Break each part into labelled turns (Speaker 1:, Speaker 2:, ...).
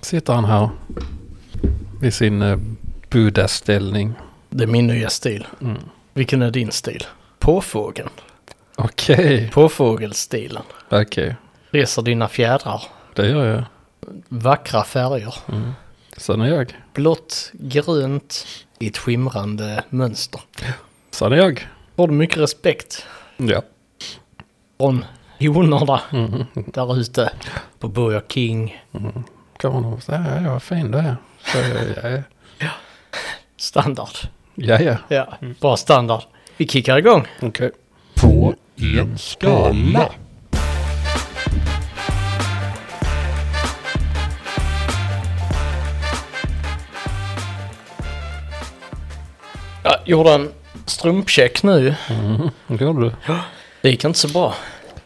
Speaker 1: sitter han här i sin eh, Buddha-ställning.
Speaker 2: Det är min nya stil.
Speaker 1: Mm.
Speaker 2: Vilken är din stil? Påfågeln.
Speaker 1: Okej,
Speaker 2: Påfågelstilen.
Speaker 1: okej.
Speaker 2: Reser dina fjädrar.
Speaker 1: Det gör jag.
Speaker 2: Vackra färger.
Speaker 1: Sen är jag.
Speaker 2: Blått, grönt i ett skimrande mönster.
Speaker 1: Sen är jag.
Speaker 2: Får du mycket respekt
Speaker 1: Ja.
Speaker 2: från honorna
Speaker 1: Mm-hmm.
Speaker 2: där ute på Burger King.
Speaker 1: Kommer någon och säger ja, ja, vad fin du är. Så, ja, ja.
Speaker 2: Standard.
Speaker 1: ja, ja.
Speaker 2: Ja, bra standard. Vi kickar igång.
Speaker 1: Okej.
Speaker 3: på en skala.
Speaker 2: Jag gjorde en strumpcheck nu.
Speaker 1: Det gjorde du.
Speaker 2: Det gick inte så bra.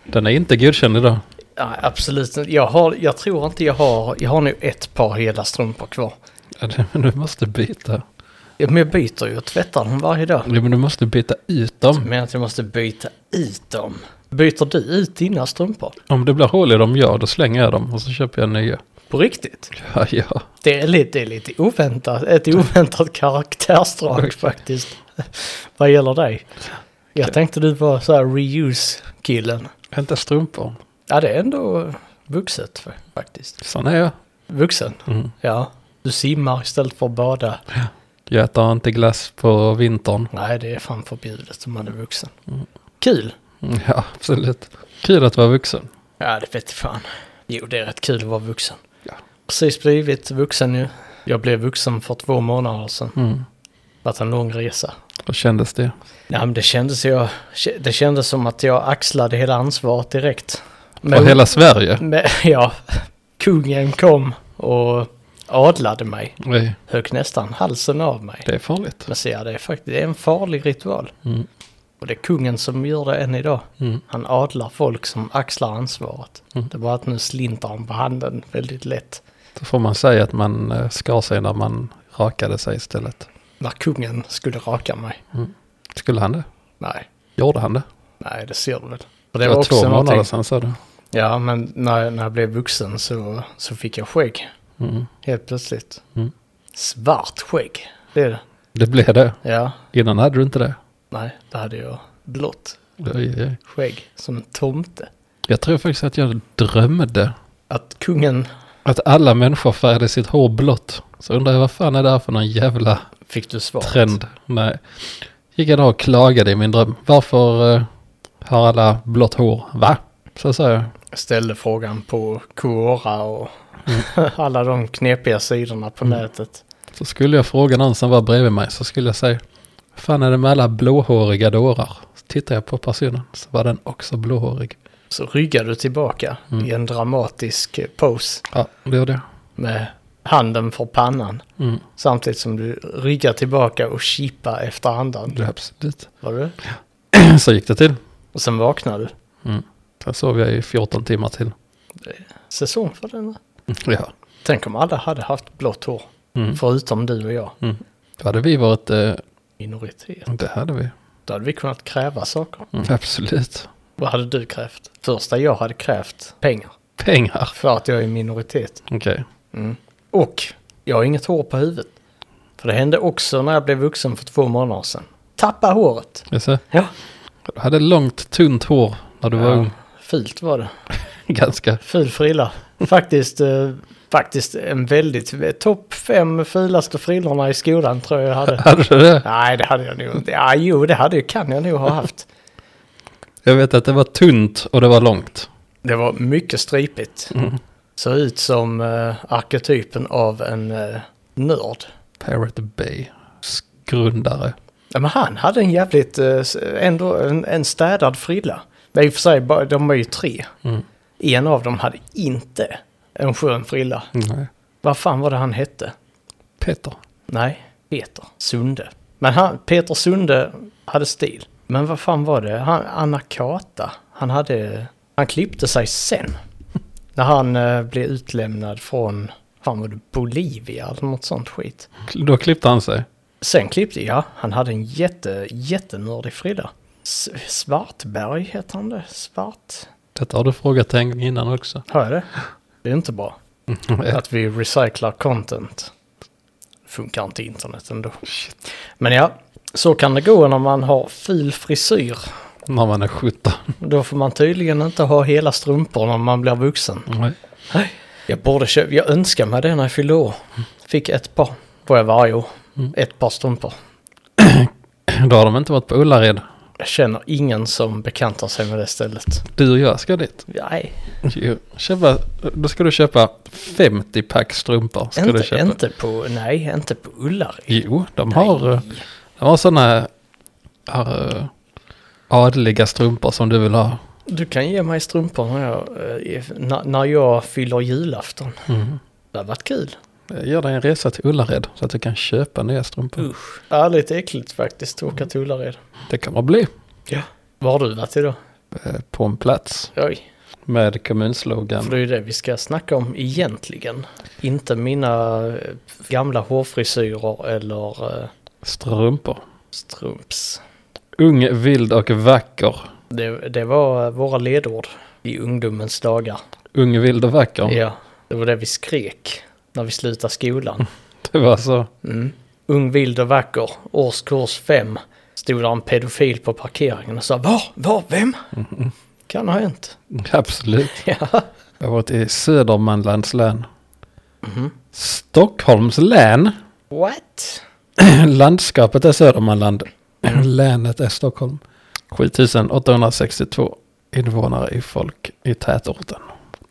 Speaker 1: Den är inte godkänd idag.
Speaker 2: Nej, absolut inte. Jag, har, jag tror inte jag har... Jag har nu ett par hela strumpor kvar.
Speaker 1: Ja, det- Men du måste byta.
Speaker 2: Ja, Men jag byter ju och tvättar dem varje dag.
Speaker 1: Ja, men du måste byta ut dem.
Speaker 2: Men att jag måste byta ut dem. Byter du ut dina strumpor?
Speaker 1: Om det blir hål i dem, ja, då slänger jag dem och så köper jag nya.
Speaker 2: På riktigt?
Speaker 1: Ja, ja.
Speaker 2: Det är lite, det är lite oväntat, ett oväntat karaktärsdrag faktiskt. Vad gäller dig? Jag tänkte du var så här reuse-killen.
Speaker 1: Inte strumpor.
Speaker 2: Ja, det är ändå vuxet fa- faktiskt.
Speaker 1: Sen är jag.
Speaker 2: Vuxen?
Speaker 1: Mm.
Speaker 2: Ja. Du simmar istället för att bada.
Speaker 1: Jag äter inte glass på vintern.
Speaker 2: Nej, det är fan förbjudet om man är vuxen. Kul!
Speaker 1: Ja, absolut. Mm. Kul att vara vuxen.
Speaker 2: Ja, det vet fan. Jo, det är rätt kul att vara vuxen.
Speaker 1: Ja.
Speaker 2: Precis blivit vuxen ju. Jag blev vuxen för två månader sedan.
Speaker 1: Mm.
Speaker 2: Varit en lång resa.
Speaker 1: Hur kändes det?
Speaker 2: Nej, men det kändes, jag, det kändes som att jag axlade hela ansvaret direkt.
Speaker 1: För
Speaker 2: Men-
Speaker 1: hela Sverige?
Speaker 2: men- ja, kungen kom och adlade mig.
Speaker 1: Nej,
Speaker 2: Högg nästan halsen av mig.
Speaker 1: det är farligt.
Speaker 2: Men ser det är faktiskt det är en farlig ritual.
Speaker 1: Mm.
Speaker 2: Och det är kungen som gör det än idag.
Speaker 1: Mm.
Speaker 2: Han adlar folk som axlar ansvaret. Det är bara att nu slintar han på handen väldigt lätt.
Speaker 1: Då får man säga att man eh, skar sig när man rakade sig istället.
Speaker 2: När kungen skulle raka mig.
Speaker 1: Skulle han det?
Speaker 2: Nej,
Speaker 1: Gjorde han det?
Speaker 2: nej det ser du väl. Och
Speaker 1: Det var,
Speaker 2: också
Speaker 1: två
Speaker 2: någonting-
Speaker 1: månader sedan sa du.
Speaker 2: Ja, men när, när jag blev vuxen så, så fick jag skägg. Helt plötsligt.
Speaker 1: Mm.
Speaker 2: Svart skägg. Det är det.
Speaker 1: Det blev det.
Speaker 2: Ja,
Speaker 1: Innan hade du inte det.
Speaker 2: nej, det hade jag. Blått
Speaker 1: Oj, oj.
Speaker 2: skägg som en tomte.
Speaker 1: Jag tror faktiskt att jag drömde
Speaker 2: Att kungen
Speaker 1: att alla människor färgade sitt hår blått. Så undrar jag vad fan är det här för någon jävla
Speaker 2: fick du svaret.
Speaker 1: trend? Nej. Gick jag då och klagade i min dröm. Varför eh, har alla blått hår? Va? Så sa jag.
Speaker 2: Jag ställde frågan på Quora och
Speaker 1: Mm.
Speaker 2: alla de knepiga sidorna på nätet.
Speaker 1: Så skulle jag fråga någon som var bredvid mig så skulle jag säga. Fan är det med alla blåhåriga dårar? Så tittade jag på personen så var den också blåhårig.
Speaker 2: Så ryggade du tillbaka
Speaker 1: Mm.
Speaker 2: i en dramatisk eh, pose
Speaker 1: Ja, det gjorde jag.
Speaker 2: med handen för pannan.
Speaker 1: Mm.
Speaker 2: Samtidigt som du ryggar tillbaka och kippar efter andan.
Speaker 1: Det absolut.
Speaker 2: Var det?
Speaker 1: Så gick det till.
Speaker 2: Och sen vaknar du.
Speaker 1: Sen sov jag i 14 timmar till.
Speaker 2: Säsong för den.
Speaker 1: Ja.
Speaker 2: Tänk om alla hade haft blått hår.
Speaker 1: Mm.
Speaker 2: Förutom du och jag.
Speaker 1: Då hade vi varit, eh,
Speaker 2: Minoritet.
Speaker 1: det hade vi.
Speaker 2: Då hade vi kunnat kräva saker.
Speaker 1: Mm. Absolut.
Speaker 2: Vad hade du krävt? Första jag hade krävt pengar.
Speaker 1: Pengar.
Speaker 2: För att jag är minoritet.
Speaker 1: Okej.
Speaker 2: Och jag har inget hår på huvudet. För det hände också när jag blev vuxen för två månader sedan. Tappa håret.
Speaker 1: Jaså?
Speaker 2: Ja.
Speaker 1: Du hade långt tunt hår när du var
Speaker 2: ja.
Speaker 1: ung.
Speaker 2: Fult var det.
Speaker 1: Ganska.
Speaker 2: Ful frilla. Faktiskt, eh, faktiskt en väldigt... eh, Topp fem fulaste frillorna i skolan tror jag jag hade.
Speaker 1: Hade du det?
Speaker 2: Nej, det hade jag nog inte. Ja, jo, det hade jag, kan jag nog ha haft.
Speaker 1: Jag vet att det var tunt och det var långt.
Speaker 2: Det var mycket stripigt. Såg ut som eh, arketypen av en eh, nörd.
Speaker 1: Pirate Bay. Grundare.
Speaker 2: Ja, men han hade en jävligt, eh, s- ändå en, en städad frilla. Det är i och för sig bara, de var ju tre. En av dem hade inte en skön frilla.
Speaker 1: Nej.
Speaker 2: Vad fan var det han hette?
Speaker 1: Peter.
Speaker 2: Nej, Peter Sunde. Men han, Peter Sunde hade stil. Men vad fan var det? Han, Anakata. Han hade... Han klippte sig sen. När han eh, blev utlämnad från... Fan var det Bolivia eller något sånt skit.
Speaker 1: Då klippte han sig.
Speaker 2: Sen klippte jag. Han hade en jätte, jättenördig frilla. S- Svartberg heter han det. Svart.
Speaker 1: Detta har du frågat en gång innan också.
Speaker 2: Hör jag det? Det är inte bra. Att vi recyclar content. Funkar inte internet ändå. Men ja, så kan det gå när man har ful frisyr.
Speaker 1: När man är 17.
Speaker 2: Då får man tydligen inte ha hela strumpor när man blir vuxen.
Speaker 1: Nej.
Speaker 2: Nej. Jag borde köpa, jag önskar mig det när jag fyllde år. Fick ett par. Får jag varje år.
Speaker 1: Mm.
Speaker 2: Ett par strumpor.
Speaker 1: Då har de inte varit på Ullared.
Speaker 2: Jag känner ingen som bekantar sig med det stället.
Speaker 1: Du och jag ska dit.
Speaker 2: Nej,
Speaker 1: Jo. Köpa, då ska du köpa 50 pack strumpor. Ska du
Speaker 2: inte,
Speaker 1: köpa.
Speaker 2: inte på, nej, inte på Ullared.
Speaker 1: Jo, de har, eh, de har sådana här, eh, adliga strumpor som du vill ha.
Speaker 2: Du kan ge mig strumpor när jag, eh, if- na- när jag fyller julafton.
Speaker 1: Mm.
Speaker 2: Det har varit kul.
Speaker 1: Eh, Gör dig en resa till Ullared så att du kan köpa nya strumpor.
Speaker 2: Usch. Ärligt äckligt faktiskt att åka till Ullared.
Speaker 1: Det kommer bli
Speaker 2: Ja. Var har du varit idag?
Speaker 1: eh, på en plats
Speaker 2: Oj,
Speaker 1: med kommunslogan.
Speaker 2: för det är ju det vi ska snacka om egentligen. Inte mina eh, gamla hårfrisyrer eller eh,
Speaker 1: Strumpor.
Speaker 2: strumps.
Speaker 1: Ung, vild och vacker.
Speaker 2: Det, det var eh, våra ledord i ungdomens dagar.
Speaker 1: Ung, vild och vacker.
Speaker 2: Ja, det var det vi skrek när vi slutade skolan.
Speaker 1: Det var så.
Speaker 2: Mm. Ung, vild och vacker, årskurs 5. Stod där en pedofil på parkeringen och sa var, var, vem? Kan ha hänt.
Speaker 1: Absolut.
Speaker 2: Ja.
Speaker 1: Jag har varit i Södermanlands län.
Speaker 2: Mm-hmm.
Speaker 1: Stockholms län.
Speaker 2: What?
Speaker 1: Landskapet är Södermanland.
Speaker 2: Mm.
Speaker 1: Länet är Stockholm. 7862 invånare i folk i tätorten.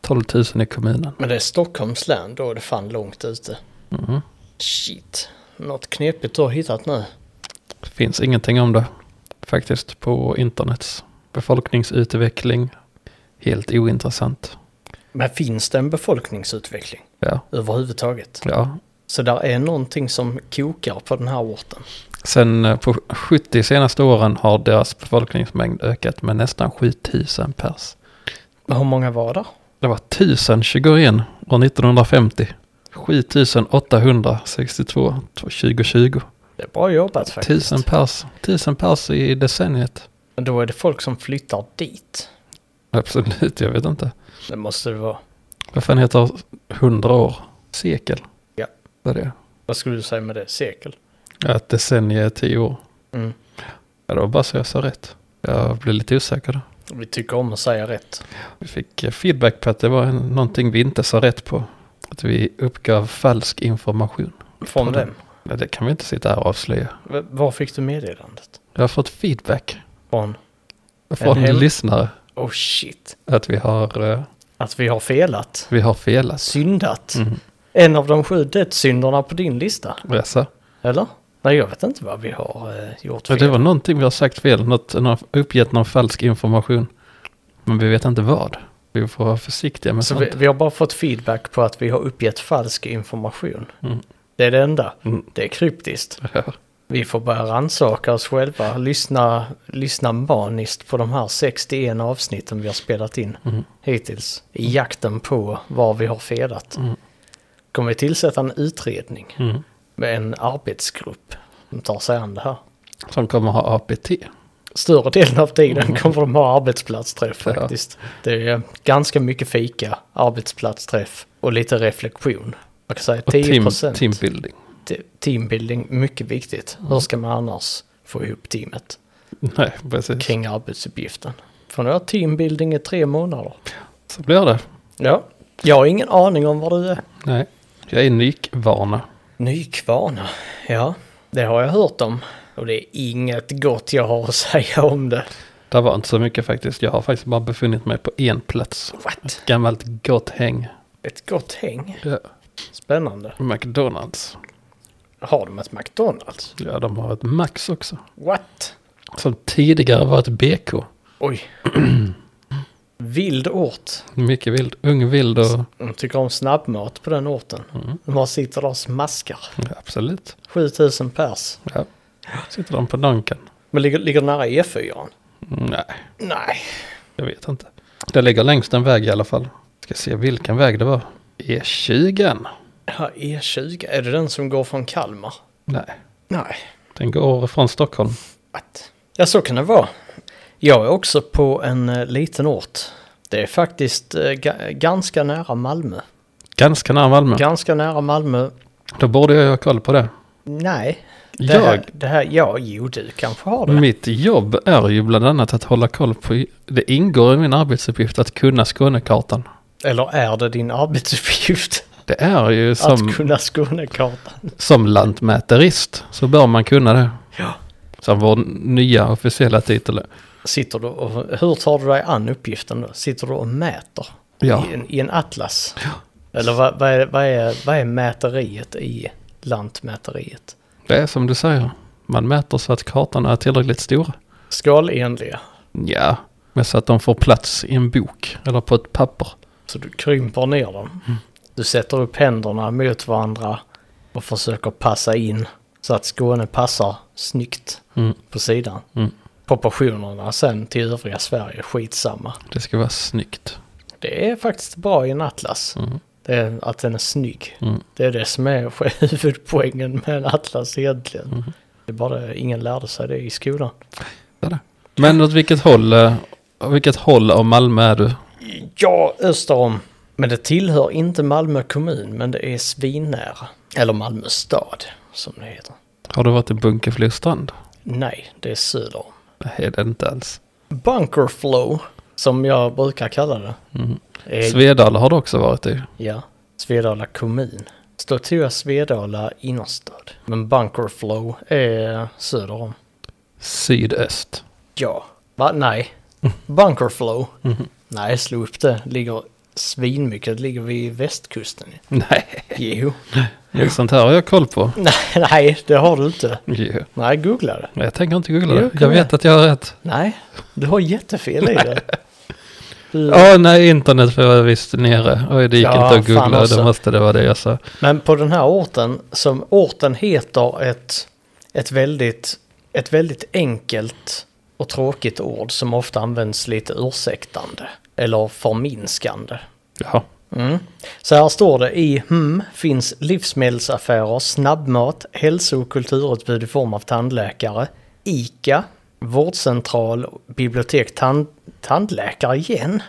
Speaker 1: 12 000 i kommunen.
Speaker 2: Men det är Stockholms län, då är det fan långt ute.
Speaker 1: Mhm.
Speaker 2: Shit, något knepigt du har hittat nu.
Speaker 1: Finns ingenting om det faktiskt på internets befolkningsutveckling. Helt ointressant.
Speaker 2: Men finns det en befolkningsutveckling
Speaker 1: Ja,
Speaker 2: överhuvudtaget?
Speaker 1: ja.
Speaker 2: Så där är någonting som kokar på den här orten.
Speaker 1: Sen eh, på 70 senaste åren har deras befolkningsmängd ökat med nästan 7000 pers.
Speaker 2: Men hur många var där?
Speaker 1: Det var 1021 år 1950. 7862 2020.
Speaker 2: Det är bra jobbat faktiskt.
Speaker 1: 1000 pers. 1000 pers i decenniet.
Speaker 2: Men då är det folk som flyttar dit.
Speaker 1: Absolut, jag vet inte.
Speaker 2: Det måste det vara.
Speaker 1: Vad fan heter 100 år? Sekel?
Speaker 2: Ja.
Speaker 1: Det är det.
Speaker 2: Vad skulle du säga med det? Sekel?
Speaker 1: Ja, ett decennium är 10 år.
Speaker 2: Mm.
Speaker 1: Ja, det var bara så jag sa rätt. Jag blev lite osäker då.
Speaker 2: Vi tycker om att säga rätt.
Speaker 1: Vi fick eh, feedback på att det var en- någonting vi inte sa rätt på. Att vi uppgav falsk information.
Speaker 2: Från
Speaker 1: Tror du?
Speaker 2: vem?
Speaker 1: Nej, det kan vi inte sitta här och avslöja.
Speaker 2: V- Var fick du meddelandet?
Speaker 1: Jag har fått feedback
Speaker 2: Från?
Speaker 1: från
Speaker 2: hel-
Speaker 1: lyssnare
Speaker 2: Oh shit.
Speaker 1: att vi har, eh,
Speaker 2: Att vi har felat.
Speaker 1: vi har felat.
Speaker 2: Syndat.
Speaker 1: Mm.
Speaker 2: En av de sju dödssynderna på din lista.
Speaker 1: Jaså?
Speaker 2: Eller? Nej, jag vet inte vad vi har eh, gjort
Speaker 1: Ja,
Speaker 2: fel.
Speaker 1: det var någonting vi har sagt fel, något, någon, uppgett någon falsk information. Men vi vet inte vad. Vi får vara försiktiga med
Speaker 2: Så
Speaker 1: sånt.
Speaker 2: Alltså, vi, vi har bara fått feedback på att vi har uppgett falsk information.
Speaker 1: Mm.
Speaker 2: Det är det enda.
Speaker 1: Mm.
Speaker 2: Det är kryptiskt.
Speaker 1: Ja.
Speaker 2: Vi får börja rannsaka oss själva, lyssna, lyssna maniskt på de här 61 avsnitten vi har spelat in
Speaker 1: Mm.
Speaker 2: hittills. I jakten på var vi har felat. Kommer vi tillsätta en utredning
Speaker 1: Mm.
Speaker 2: med en arbetsgrupp som tar sig an det här.
Speaker 1: Som kommer ha APT.
Speaker 2: Större delen av
Speaker 1: Mm.
Speaker 2: tiden kommer de ha arbetsplatsträff faktiskt. Det är ganska mycket fika, arbetsplatsträff och lite reflektion. Man kan säga
Speaker 1: Och team,
Speaker 2: 10%.
Speaker 1: teambuilding.
Speaker 2: Te- Teambuilding, mycket viktigt. Hur ska man annars få ihop teamet
Speaker 1: Nej, precis.
Speaker 2: kring arbetsuppgiften? För nu har teambuilding i tre månader.
Speaker 1: Så blir det.
Speaker 2: Ja, jag har ingen aning om var du är.
Speaker 1: Nej. Jag är nykvana.
Speaker 2: Nykvarna, ja. Det har jag hört om. Och det är inget gott jag har att säga om det.
Speaker 1: Det var inte så mycket faktiskt. Jag har faktiskt bara befunnit mig på en plats.
Speaker 2: What?
Speaker 1: Gammalt gott häng.
Speaker 2: Ett gott häng.
Speaker 1: Ja.
Speaker 2: Spännande.
Speaker 1: McDonalds.
Speaker 2: Har de ett McDonalds?
Speaker 1: Ja, de har ett Max också.
Speaker 2: What?
Speaker 1: Som tidigare var ett BK.
Speaker 2: Oj. Vild ort.
Speaker 1: Mycket vild. Ung vild och...
Speaker 2: De tycker om snabbmat på den orten. De bara sitter där och smaskar.
Speaker 1: Ja, absolut.
Speaker 2: 7000 pers.
Speaker 1: Ja. Sitter de på Donken?
Speaker 2: Men ligger, ligger det nära E4?
Speaker 1: Nej,
Speaker 2: Nej.
Speaker 1: jag vet inte. Det ligger längs en väg i alla fall. Ska se vilken väg det var. E E20.
Speaker 2: Ja, E20, är det den som går från Kalmar?
Speaker 1: Nej,
Speaker 2: Nej.
Speaker 1: den går från Stockholm.
Speaker 2: Att. Ja, så kan det vara. Jag är också på en eh, liten ort. Det är faktiskt eh, ga- ganska nära Malmö.
Speaker 1: Ganska nära Malmö.
Speaker 2: Ganska nära Malmö.
Speaker 1: Då borde jag ju ha koll på det.
Speaker 2: Nej. Det
Speaker 1: Jag, Mm.
Speaker 2: Här, det här, ja, jo du kanske har det.
Speaker 1: mitt jobb är ju bland annat att hålla koll på, det ingår i min arbetsuppgift att kunna Skånekartan.
Speaker 2: Eller är det din arbetsuppgift
Speaker 1: Det är ju som,
Speaker 2: att kunna Skånekartan?
Speaker 1: som lantmäterist så bör man kunna det.
Speaker 2: Ja.
Speaker 1: Som vår nya officiella titel. är.
Speaker 2: Sitter du och, hur tar du dig an uppgiften då? Sitter du och mäter?
Speaker 1: Ja,
Speaker 2: I, en, I en atlas? Eller vad, vad, är, vad, är, vad är mäteriet i lantmäteriet?
Speaker 1: det är som du säger. Man mäter så att kartorna är tillräckligt stora.
Speaker 2: Skalenliga.
Speaker 1: Ja, men så att de får plats i en bok eller på ett papper.
Speaker 2: Så du krymper ner dem.
Speaker 1: Mm.
Speaker 2: Du sätter upp händerna mot varandra och försöker passa in så att Skåne passar snyggt
Speaker 1: Mm.
Speaker 2: på sidan.
Speaker 1: Mm.
Speaker 2: Proportionerna sen till övriga Sverige, skitsamma.
Speaker 1: Det ska vara snyggt.
Speaker 2: Det är faktiskt bra i en atlas.
Speaker 1: Mm.
Speaker 2: Det är att den är snygg.
Speaker 1: Mm.
Speaker 2: Det är det som är huvudpoängen med en atlas egentligen. Det är bara det, ingen lärde sig det i skolan.
Speaker 1: Det är det. Men åt vilket håll, eh, åt vilket håll av Malmö är du?
Speaker 2: Ja, öster om. Men det tillhör inte Malmö kommun, men det är svinnära. Eller Malmö stad, som det heter.
Speaker 1: Har du varit i Bunkeflostrand?
Speaker 2: Nej, det är söder om.
Speaker 1: Det är det inte alls.
Speaker 2: Bunkerflow, som jag brukar kalla det. är-
Speaker 1: Svedala har du också varit i.
Speaker 2: Ja, Svedala kommun. Statua Svedala innerstad. Men Bunkerflow är söder om.
Speaker 1: Sydöst.
Speaker 2: Ja. Va? Nej. Bunkerflow. Nej, slå upp det. Ligger svinmycket. Det ligger vid västkusten.
Speaker 1: Nej,
Speaker 2: Jo.
Speaker 1: sånt här har jag koll på.
Speaker 2: nej, nej, det har du inte.
Speaker 1: Jo.
Speaker 2: Nej, googla det.
Speaker 1: Jag tänker inte googla
Speaker 2: Jo,
Speaker 1: det.
Speaker 2: kom
Speaker 1: Jag vet
Speaker 2: igen.
Speaker 1: att jag har rätt.
Speaker 2: Nej, du har jättefel i det. Du,
Speaker 1: Åh nej, internet var visst nere. Oj, det gick
Speaker 2: Ja,
Speaker 1: inte att
Speaker 2: fan alltså.
Speaker 1: googla.
Speaker 2: också.
Speaker 1: Det måste det vara det jag sa.
Speaker 2: Men på den här orten, som orten heter ett, ett, väldigt, ett väldigt enkelt och tråkigt ord som ofta används lite ursäktande eller förminskande.
Speaker 1: Jaha.
Speaker 2: Mm. Så här står det i hmm finns livsmedelsaffärer, snabbmat, hälso och kulturutbud i form av tandläkare, ICA, vårdcentral, bibliotek, tand, tandläkare igen.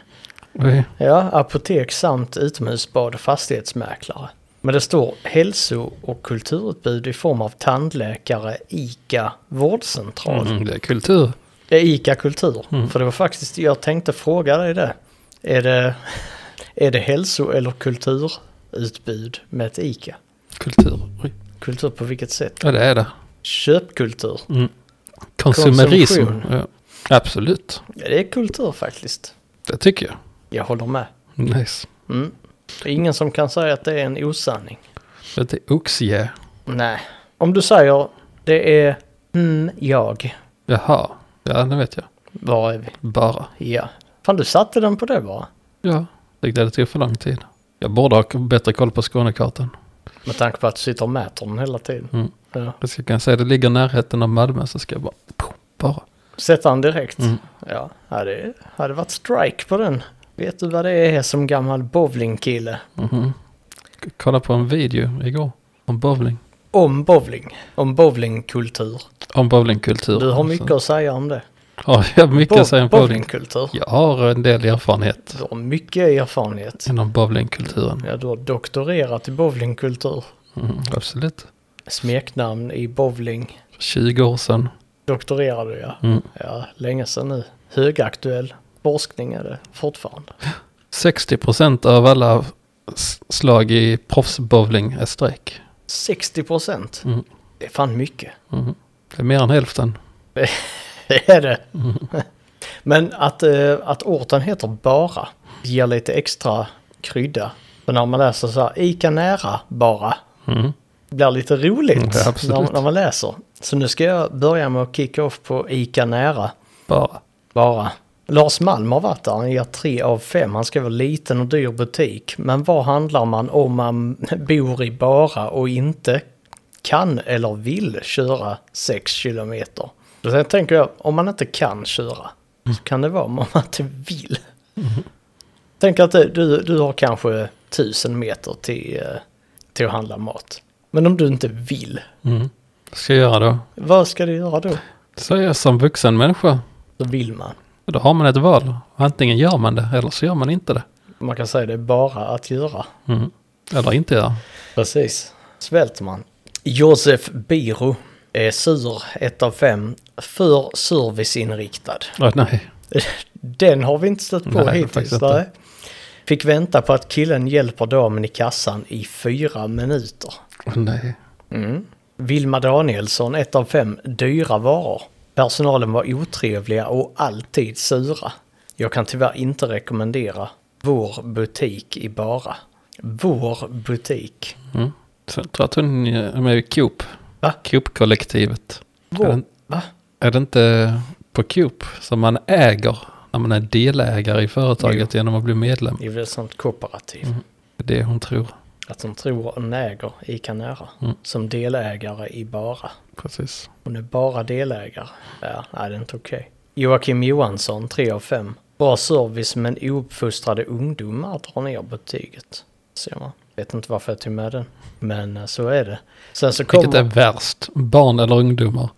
Speaker 1: Oj.
Speaker 2: Ja, apotek samt utomhusbad och fastighetsmäklare. Men det står hälso och kulturutbud i form av tandläkare, ICA, vårdcentral.
Speaker 1: Mm, det är kultur.
Speaker 2: Det är ICA Kultur. För det var faktiskt, jag tänkte fråga dig det. Är det, är det hälso eller kulturutbud med ett ICA?
Speaker 1: Kultur. Oj.
Speaker 2: Kultur på vilket sätt?
Speaker 1: Ja, det är det.
Speaker 2: Köpkultur.
Speaker 1: Konsumerism.
Speaker 2: Konsumtion.
Speaker 1: Ja. Absolut.
Speaker 2: Ja, det är kultur faktiskt.
Speaker 1: Det tycker jag.
Speaker 2: Jag håller med.
Speaker 1: Nice.
Speaker 2: Mm. Det är ingen som kan säga att det är en osanning.
Speaker 1: Det är oxie.
Speaker 2: Nej. Om du säger det är mm, jag.
Speaker 1: Jaha. Ja, det vet jag.
Speaker 2: Var är vi?
Speaker 1: Bara.
Speaker 2: Ja. Fan du satte den på det bara.
Speaker 1: Ja, det det tog för lång tid. Jag borde ha k- bättre koll på Skånekartan.
Speaker 2: Med tanke på att du sitter och mäter den hela tiden.
Speaker 1: Mm.
Speaker 2: Ja.
Speaker 1: Jag ska kunna säga det ligger i närheten av Malmö så ska jag bara... pff, bara.
Speaker 2: Sätta den direkt.
Speaker 1: Mm.
Speaker 2: Ja, hade, hade varit strike på den. Vet du vad det är som gammal bowlingkille?
Speaker 1: Mhm. K- Kolla på en video igår om bowling.
Speaker 2: Om bowling. Om bowlingkultur.
Speaker 1: Om bowlingkultur.
Speaker 2: Du har mycket
Speaker 1: Så-
Speaker 2: att säga om det.
Speaker 1: Ja, jag har mycket att säga om bowling.
Speaker 2: bowlingkultur.
Speaker 1: Jag har en del erfarenhet
Speaker 2: Du har mycket erfarenhet.
Speaker 1: inom bowlingkulturen.
Speaker 2: Ja, du har doktorerat i bowlingkultur.
Speaker 1: Mm, absolut.
Speaker 2: Smeknamn i bowling.
Speaker 1: 20 år sedan.
Speaker 2: Doktorerade du ja.
Speaker 1: Mm.
Speaker 2: Ja, länge sedan nu. Högaktuell forskning är det fortfarande.
Speaker 1: 60 procent av alla s- slag i proffsbowling är streck.
Speaker 2: 60 procent.
Speaker 1: Mm.
Speaker 2: Det är fan mycket.
Speaker 1: Mhm. Det är mer än hälften.
Speaker 2: Det är det. Men att, eh, att orten heter bara ger lite extra krydda. För när man läser så här, Ica nära bara,
Speaker 1: Mm.
Speaker 2: blir lite roligt
Speaker 1: Ja, absolut.
Speaker 2: när, när man läser. Så nu ska jag börja med att kicka off på Ica nära
Speaker 1: Bara.
Speaker 2: bara. Lars Malm har varit där, han ger tre av fem. Han ska vara liten och dyr butik. Men vad handlar man om man bor i Bara och inte kan eller vill köra 6 kilometer? Så Sen tänker jag, om man inte kan köra, så kan det vara om man inte vill. Tänk att du, du har kanske 1000 meter till, eh, till att handla mat. Men om du inte vill,
Speaker 1: Mm. Vad ska jag göra då?
Speaker 2: vad ska du göra då?
Speaker 1: Så är jag som vuxen människa.
Speaker 2: Då vill man.
Speaker 1: Då har man ett val. Antingen gör man det eller så gör man inte det.
Speaker 2: Man kan säga det är bara att göra.
Speaker 1: Mm. Eller inte gör.
Speaker 2: Precis. Svälter man. Josef Biro är sur, 1 av 5, för serviceinriktad.
Speaker 1: Åh, nej,
Speaker 2: Den har vi inte stött på
Speaker 1: Nej,
Speaker 2: hittills.
Speaker 1: faktiskt inte.
Speaker 2: nej. Fick vänta på att killen hjälper damen i kassan i fyra minuter.
Speaker 1: Åh, Oh, nej. Mm.
Speaker 2: Vilma Danielsson, 1 av 5, dyra varor. Personalen var otrevliga och alltid sura. Jag kan tyvärr inte rekommendera vår butik i Bara. Vår butik.
Speaker 1: Mm. Så jag tror att hon är med i Coop.
Speaker 2: Va?
Speaker 1: Coop-kollektivet. Är
Speaker 2: Vår,
Speaker 1: det,
Speaker 2: va?
Speaker 1: är det inte på Coop som man äger när man är delägare i företaget genom att bli medlem?
Speaker 2: Det är väl ett sånt kooperativ.
Speaker 1: Det är det hon tror.
Speaker 2: Att de tror hon äger Ica Nära.
Speaker 1: Mm.
Speaker 2: Som delägare i Bara.
Speaker 1: Precis.
Speaker 2: Hon är bara delägare. Ja, nej, det är inte okej. Joakim Johansson, 3 av 5. Bra service men ouppfostrade ungdomar drar ner betyget. Ser man. Vet inte varför jag tog med den. Men eh, så är det. Sen så
Speaker 1: Vilket
Speaker 2: kommer
Speaker 1: är värst? Barn eller ungdomar?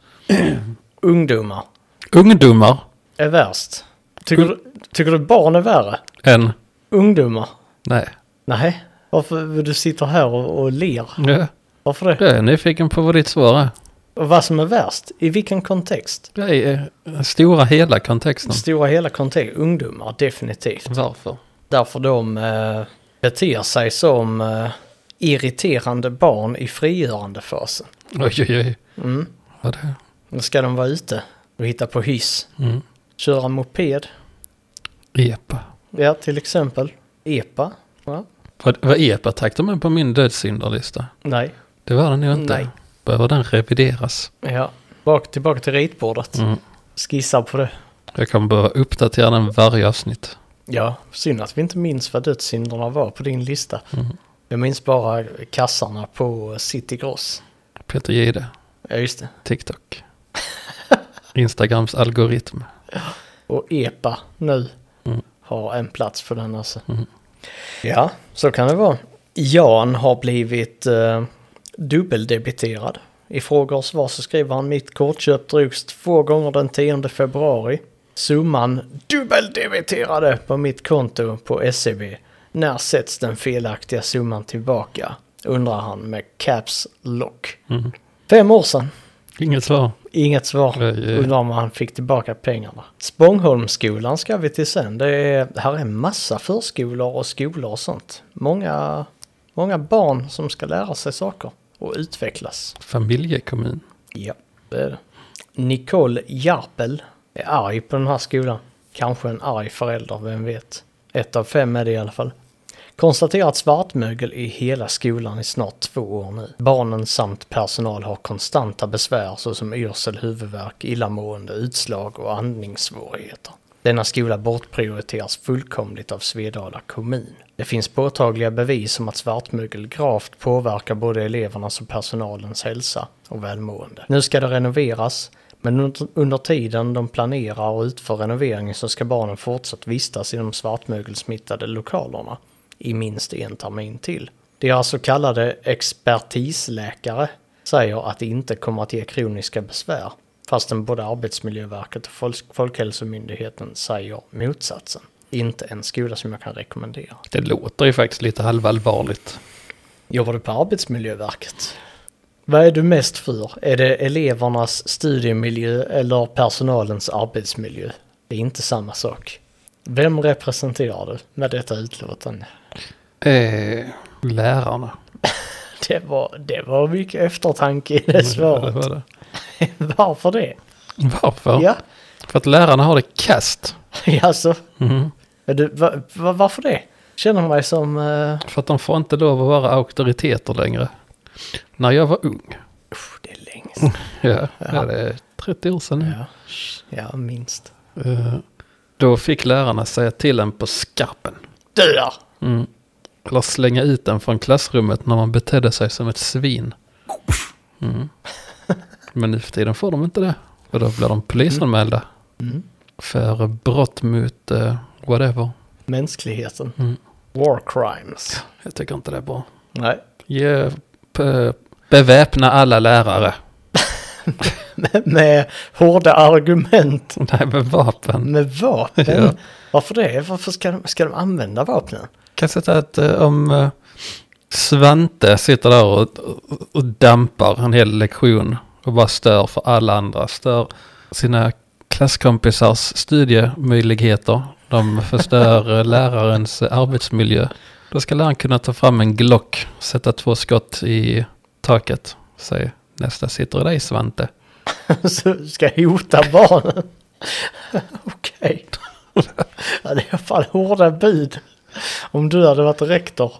Speaker 2: ungdomar.
Speaker 1: Ungdomar
Speaker 2: Är värst. Tycker, du, tycker du barn är värre?
Speaker 1: än...
Speaker 2: Ungdomar?
Speaker 1: Nej.
Speaker 2: Nej. Varför du sitter här och, och ler?
Speaker 1: Ja,
Speaker 2: Varför det?
Speaker 1: Jag är nyfiken på vad ditt svar är.
Speaker 2: Och vad som är värst? I vilken kontext?
Speaker 1: Det är eh, stora hela kontexten.
Speaker 2: Stora hela kontext. Ungdomar, definitivt.
Speaker 1: Varför?
Speaker 2: Därför de eh, beter sig som eh, irriterande barn i frigörandefasen.
Speaker 1: Oj, oj, oj.
Speaker 2: Mm.
Speaker 1: Vad det?
Speaker 2: Nu ska de vara ute och hitta på hyss.
Speaker 1: Mm.
Speaker 2: Köra moped,
Speaker 1: Epa.
Speaker 2: ja till exempel. E Epa? Va?
Speaker 1: Vad, vad epa tack de är på min dödssyndarlista?
Speaker 2: Nej.
Speaker 1: Det var den ju inte.
Speaker 2: Nej.
Speaker 1: Behöver den revideras?
Speaker 2: Ja. Bak, tillbaka till ritbordet.
Speaker 1: Mm.
Speaker 2: Skissa på det.
Speaker 1: Jag kommer behöva uppdatera den varje avsnitt.
Speaker 2: Ja, synd att vi inte minns vad dödssynderna var på din lista. Jag minns bara kassarna på City Gross.
Speaker 1: Peter Jihde,
Speaker 2: Ja, just det.
Speaker 1: TikTok. Instagrams algoritm.
Speaker 2: Och EPA nu har en plats för den alltså. Ja, så kan det vara. Jan har blivit eh, dubbeldebiterad. I frågor och svar så skriver han mitt kortköp drogs två gånger den 10 februari. Summan dubbeldebiterade på mitt konto på SEB. När sätts den felaktiga summan tillbaka? Undrar han med caps lock. Fem år sedan.
Speaker 1: Inget svar.
Speaker 2: Inget svar.
Speaker 1: Nej, eh.
Speaker 2: Undrar om han fick tillbaka pengarna. Spångholmsskolan ska vi till sen. Det är, här är massa förskolor och skolor och sånt. Många, många barn som ska lära sig saker och utvecklas.
Speaker 1: Familjekommun.
Speaker 2: Ja, det är det. Nicole Jarpel är arg på den här skolan. Kanske en arg förälder, vem vet. Ett av fem är det i alla fall. Konstaterat svartmögel i hela skolan i snart två år nu. Barnen samt personal har konstanta besvär såsom yrsel, huvudvärk, illamående, utslag och andningssvårigheter. Denna skola bortprioriteras fullkomligt av Svedala kommun. Det finns påtagliga bevis om att svartmögel gravt påverkar både elevernas och personalens hälsa och välmående. Nu ska det renoveras, men under- under tiden de planerar och utför renoveringen så ska barnen fortsatt vistas i de svartmögelsmittade lokalerna i minst en termin till. Deras så kallade expertisläkare säger att det inte kommer att ge kroniska besvär, fastän både Arbetsmiljöverket och Folk- Folkhälsomyndigheten säger motsatsen. Inte en skola som jag kan rekommendera.
Speaker 1: Det låter ju faktiskt lite halvallvarligt.
Speaker 2: Jobbar du på Arbetsmiljöverket? Vad är du mest för? Är det elevernas studiemiljö eller personalens arbetsmiljö? Det är inte samma sak. Vem representerar du med detta utlåtande?
Speaker 1: Eh, lärarna.
Speaker 2: Det var, det var mycket eftertanke i det
Speaker 1: Ja,
Speaker 2: svaret.
Speaker 1: det var det.
Speaker 2: Mm. Varför det?
Speaker 1: Varför?
Speaker 2: Ja,
Speaker 1: För att lärarna har det kast.
Speaker 2: alltså.
Speaker 1: Mhm.
Speaker 2: Är du, va, va, varför det? Känner mig som... eh,
Speaker 1: För att de får inte lov att vara auktoriteter längre. När jag var ung.
Speaker 2: usch, det är länge sedan.
Speaker 1: Ja, ja. det är 30 år sedan nu.
Speaker 2: Ja, ja minst.
Speaker 1: Eh, Då fick lärarna säga till en på skarpen. Mm.
Speaker 2: Du där!
Speaker 1: Eller slänga ut en från klassrummet när man betedde sig som ett svin. Mm. Men nu för tiden får de inte det. Och då blir de polisanmälda.
Speaker 2: Mm.
Speaker 1: För brott mot eh, whatever.
Speaker 2: Mänskligheten. War crimes.
Speaker 1: Jag tycker inte det är bra.
Speaker 2: Nej.
Speaker 1: Ge, pe, beväpna alla lärare.
Speaker 2: Med hårda argument.
Speaker 1: Nej, med vapen.
Speaker 2: Med vapen.
Speaker 1: Ja.
Speaker 2: Varför det? Varför ska de, ska de använda vapnen?
Speaker 1: Kan sätta att eh, om eh, Svante sitter där och, och dampar en hel lektion och bara stör för alla andra. Stör sina klasskompisars studiemöjligheter. De förstör eh, lärarens arbetsmiljö. Då ska läraren kunna ta fram en Glock, sätta två skott i taket. Säg nästa sitter i dig Svante.
Speaker 2: Så ska jag hota barnen? Okej. Ja, det är fan hårda bud. Om du hade varit rektor.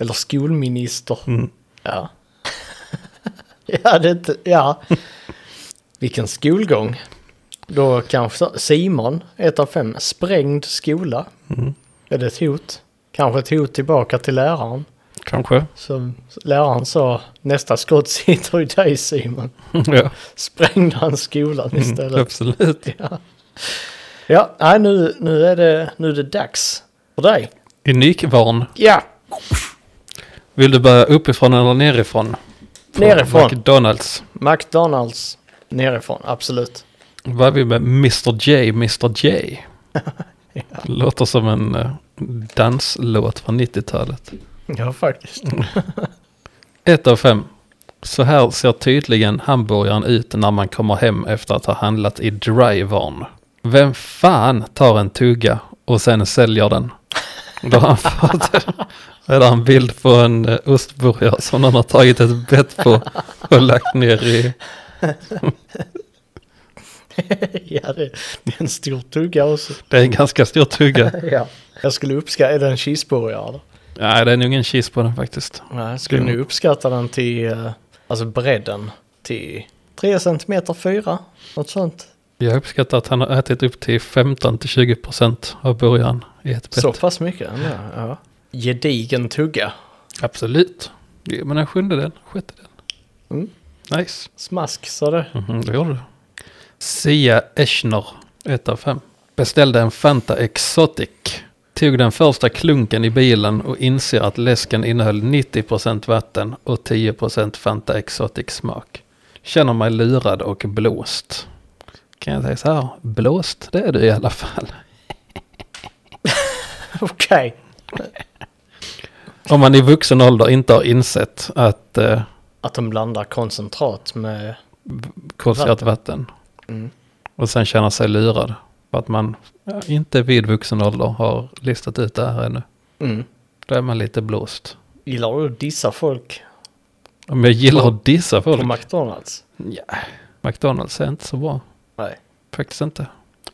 Speaker 2: Eller skolminister. Ja. ja, det är inte... Ja. Vilken skolgång. Då kanske Simon, ett av fem, sprängd skola. Är det ett hot? Kanske ett hot tillbaka till läraren.
Speaker 1: Kanske.
Speaker 2: Så läraren sa nästa skott sitter i dig Simon.
Speaker 1: ja, Mm,
Speaker 2: Sprängde han skolan istället.
Speaker 1: absolut.
Speaker 2: Ja, ja nej, nu, nu, är det, nu är det dags för dig.
Speaker 1: I Nykvarn,
Speaker 2: Ja,
Speaker 1: vill du börja uppifrån eller nerifrån? På
Speaker 2: Nerifrån.
Speaker 1: McDonalds.
Speaker 2: McDonalds nerifrån, absolut.
Speaker 1: Vad är vi med Mr J, Mr J? Låter som en eh, danslåt från 90-talet.
Speaker 2: Ja, faktiskt.
Speaker 1: Ett av fem. Så här ser tydligen hamburgaren ut när man kommer hem efter att ha handlat i drivern. Vem fan tar en tugga och sen säljer den? Då har han fått är det en bild på en eh, ostburgare som någon har tagit ett bett på och lagt ner i.
Speaker 2: ja, det, det är en stor tugga också.
Speaker 1: Det är en ganska stor tugga.
Speaker 2: Ja. Jag skulle uppskatta, är det en cheeseburgare? då?
Speaker 1: Nej, det är nog ingen cheese på den faktiskt.
Speaker 2: Nej, jag skulle nu uppskatta den till, eh, alltså bredden till 3 centimeter 4, något sånt.
Speaker 1: Jag uppskattar att han har ätit upp till 15-20% av burgaren i ett bett.
Speaker 2: Så pass mycket? Ja, ja. Gedigen tugga.
Speaker 1: Absolut. Ja, men en sjundedel, sjättedel.
Speaker 2: Mm.
Speaker 1: Nice.
Speaker 2: Smask sa det.
Speaker 1: Mhm, det gjorde du. Sia Eschner, 1 av 5. Beställde en Fanta Exotic. Tog den första klunken i bilen och inser att läsken innehöll 90% vatten och 10% Fanta Exotic smak. Känner mig lurad och blåst. Kan jag säga så här, blåst det är du i alla fall.
Speaker 2: Okej.
Speaker 1: Om man i vuxen ålder inte har insett att eh,
Speaker 2: Att de blandar koncentrat med...
Speaker 1: kolsyrat
Speaker 2: Vatten. Mm.
Speaker 1: vatten. Och sen känner sig lurad. För att man ja, inte vid vuxen ålder har listat ut det här ännu.
Speaker 2: Mm.
Speaker 1: Då är man lite blåst.
Speaker 2: Gillar du att dissa folk
Speaker 1: Om jag gillar att dissa
Speaker 2: på
Speaker 1: folk.
Speaker 2: McDonalds?
Speaker 1: Ja, McDonalds är inte så bra.
Speaker 2: Nej.
Speaker 1: Faktiskt inte.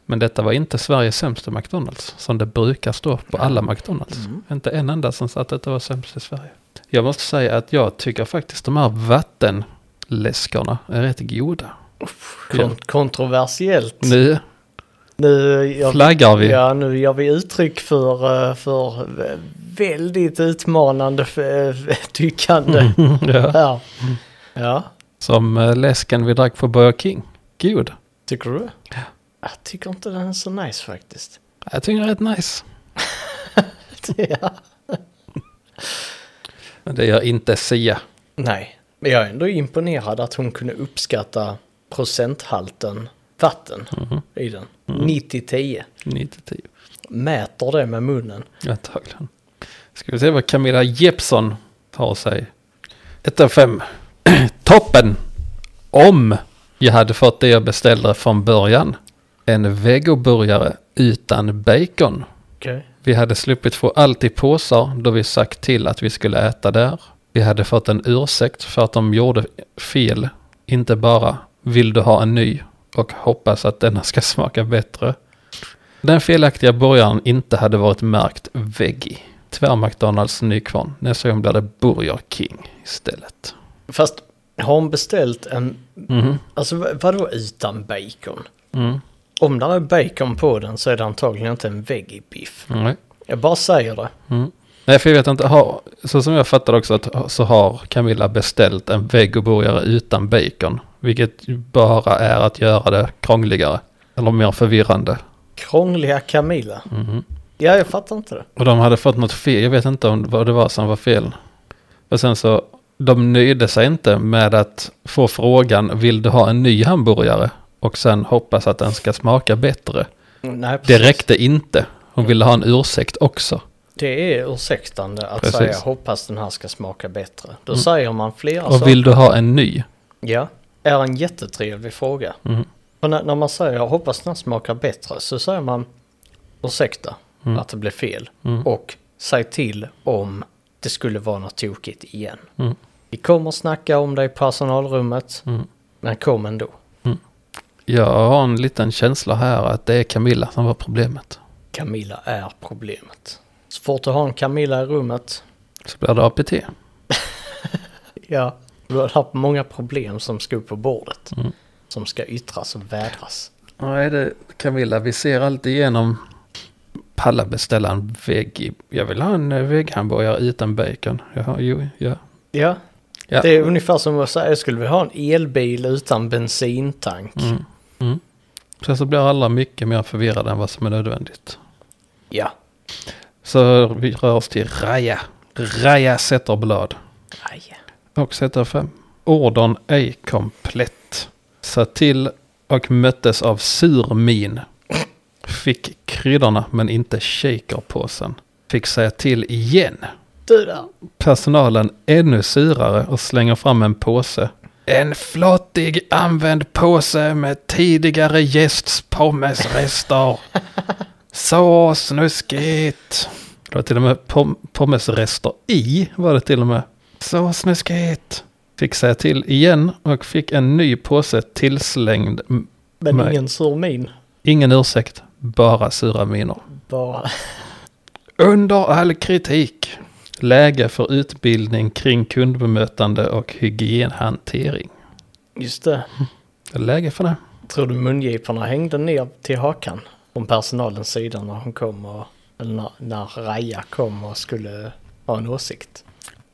Speaker 1: Men detta var inte Sveriges sämsta McDonalds. Som det brukar stå på alla McDonalds.
Speaker 2: Mm.
Speaker 1: Inte en enda som sa att detta var sämst i Sverige. Jag måste säga att jag tycker faktiskt de här vattenläskorna är rätt goda.
Speaker 2: Kon- Kontroversiellt.
Speaker 1: Nu
Speaker 2: Nu, jag,
Speaker 1: flaggar vi.
Speaker 2: ja, nu gör vi uttryck för, eh, för vä- väldigt utmanande f- eh,
Speaker 1: Mm.
Speaker 2: tyckande
Speaker 1: Ja.
Speaker 2: här. Ja,
Speaker 1: Som eh, läsken vi drack på Burger King. God.
Speaker 2: tycker du? Jag tycker inte den är så nice faktiskt.
Speaker 1: Jag tycker det är rätt nice.
Speaker 2: ja.
Speaker 1: Men det gör inte Sia.
Speaker 2: Nej, men jag är ändå imponerad att hon kunde uppskatta procenthalten vatten i den. 90-10.
Speaker 1: 9-10.
Speaker 2: Mäter det med munnen.
Speaker 1: Antagligen. Ska vi se vad Camilla Jeppsson tar sig. 1 av 5. Toppen! Om jag hade fått det jag beställde från början. En vegoburgare utan bacon.
Speaker 2: Okej.
Speaker 1: Vi hade sluppit få allt i påsar då vi sagt till att vi skulle äta där. Vi hade fått en ursäkt för att de gjorde fel. Inte bara vill du ha en ny och hoppas att denna ska smaka bättre. Den felaktiga burgaren inte hade varit märkt veggie. Tyvärr McDonalds Nykvarn. Nästa gång blir det Burger King istället.
Speaker 2: Fast har hon beställt en...
Speaker 1: Mhm.
Speaker 2: Alltså vad- vadå utan bacon?
Speaker 1: Mm.
Speaker 2: Om det är bacon på den så är det antagligen inte en veggiebiff.
Speaker 1: Nej.
Speaker 2: Jag bara säger det.
Speaker 1: Mm. Nej, för jag vet inte. Har, så som jag fattar också att, så har Camilla beställt en vegoburgare utan bacon. Vilket ju bara är att göra det krångligare. Eller mer förvirrande.
Speaker 2: Krångliga Camilla. Ja, jag fattar inte det.
Speaker 1: Och de hade fått något fel. Jag vet inte om, vad det var som var fel. Och sen så, de nöjde sig inte med att få frågan vill du ha en ny hamburgare? Och sen hoppas att den ska smaka bättre.
Speaker 2: Nej, precis.
Speaker 1: Det räckte inte. Hon ville ha en ursäkt också.
Speaker 2: Det är ursäktande att
Speaker 1: Precis. Mm.
Speaker 2: säga hoppas den här ska smaka bättre. Då säger man flera saker.
Speaker 1: Och vill du ha en ny?
Speaker 2: Ja, är en jättetrevlig fråga.
Speaker 1: Mm.
Speaker 2: Och när, när man säger hoppas den här smakar bättre så säger man ursäkta
Speaker 1: Mm.
Speaker 2: att det blev fel.
Speaker 1: Mm.
Speaker 2: Och säg till om det skulle vara något tokigt igen.
Speaker 1: Mm.
Speaker 2: Vi kommer snacka om det i personalrummet,
Speaker 1: Mm.
Speaker 2: men kom ändå.
Speaker 1: Jag har en liten känsla här att det är Camilla som var problemet.
Speaker 2: Camilla är problemet. Så fort du har en Camilla i rummet,
Speaker 1: Så blir det APT.
Speaker 2: ja, du har haft många problem som ska upp på bordet.
Speaker 1: Mm.
Speaker 2: Som ska yttras och vädras.
Speaker 1: Vad är det Camilla? Vi ser alltid igenom. Palla beställa en veggie. Jag vill ha en eh, vegghamburgare utan bacon. Jaha, jo, ja.
Speaker 2: Ja,
Speaker 1: ja.
Speaker 2: Det är ungefär som att säga, skulle vi ha en elbil utan bensintank?
Speaker 1: Mm. Mm. Sen så blir alla mycket mer förvirrade än vad som är nödvändigt.
Speaker 2: Ja.
Speaker 1: Så vi rör oss till Raja. Raja sätter blad.
Speaker 2: Aj.
Speaker 1: Och sätter fem. Ordern ej komplett. Sa till och möttes av sur min. Fick kryddorna men inte shakerpåsen. Fick säga till igen.
Speaker 2: Du där.
Speaker 1: Personalen ännu surare och slänger fram en påse. En flottig använd påse med tidigare gästs pommesrester. Så snuskigt. Det var till och med pom- pommesrester i var det till och med. Så snuskigt. Fick säga till igen och fick en ny påse tillslängd. M-
Speaker 2: Men
Speaker 1: Nej.
Speaker 2: ingen sur min.
Speaker 1: Ingen ursäkt, bara sura miner.
Speaker 2: Bara.
Speaker 1: Under all kritik. Läge för utbildning kring kundbemötande och hygienhantering.
Speaker 2: Just det.
Speaker 1: Är det Läge för det.
Speaker 2: Tror du mungiporna hängde ner till hakan? Från personalens sida när hon kom och... Eller när, när Raja kom och skulle ha en åsikt.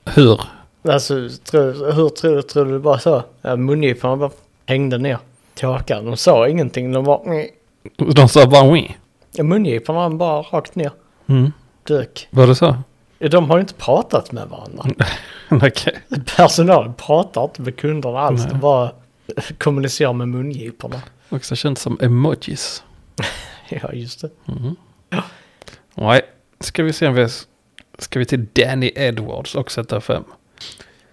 Speaker 1: Hur?
Speaker 2: Alltså, tror, hur tror du? Tror du det bara så? Ja, mungiporna bara hängde ner till hakan. De sa ingenting. De bara... "Nej."
Speaker 1: De sa bara oui.
Speaker 2: Ja, mungiporna bara rakt ner.
Speaker 1: Mm.
Speaker 2: Dök.
Speaker 1: Var det så?
Speaker 2: Ja, De har ju inte pratat med varandra.
Speaker 1: Okej.
Speaker 2: Personalen pratar inte med kunderna alls. De bara kommunicerar med mungiporna.
Speaker 1: Också känns som emojis.
Speaker 2: Ja, just det.
Speaker 1: Nej. Mm-hmm. Ska vi se om vi... Ska vi till Danny Edwards och sätta fem.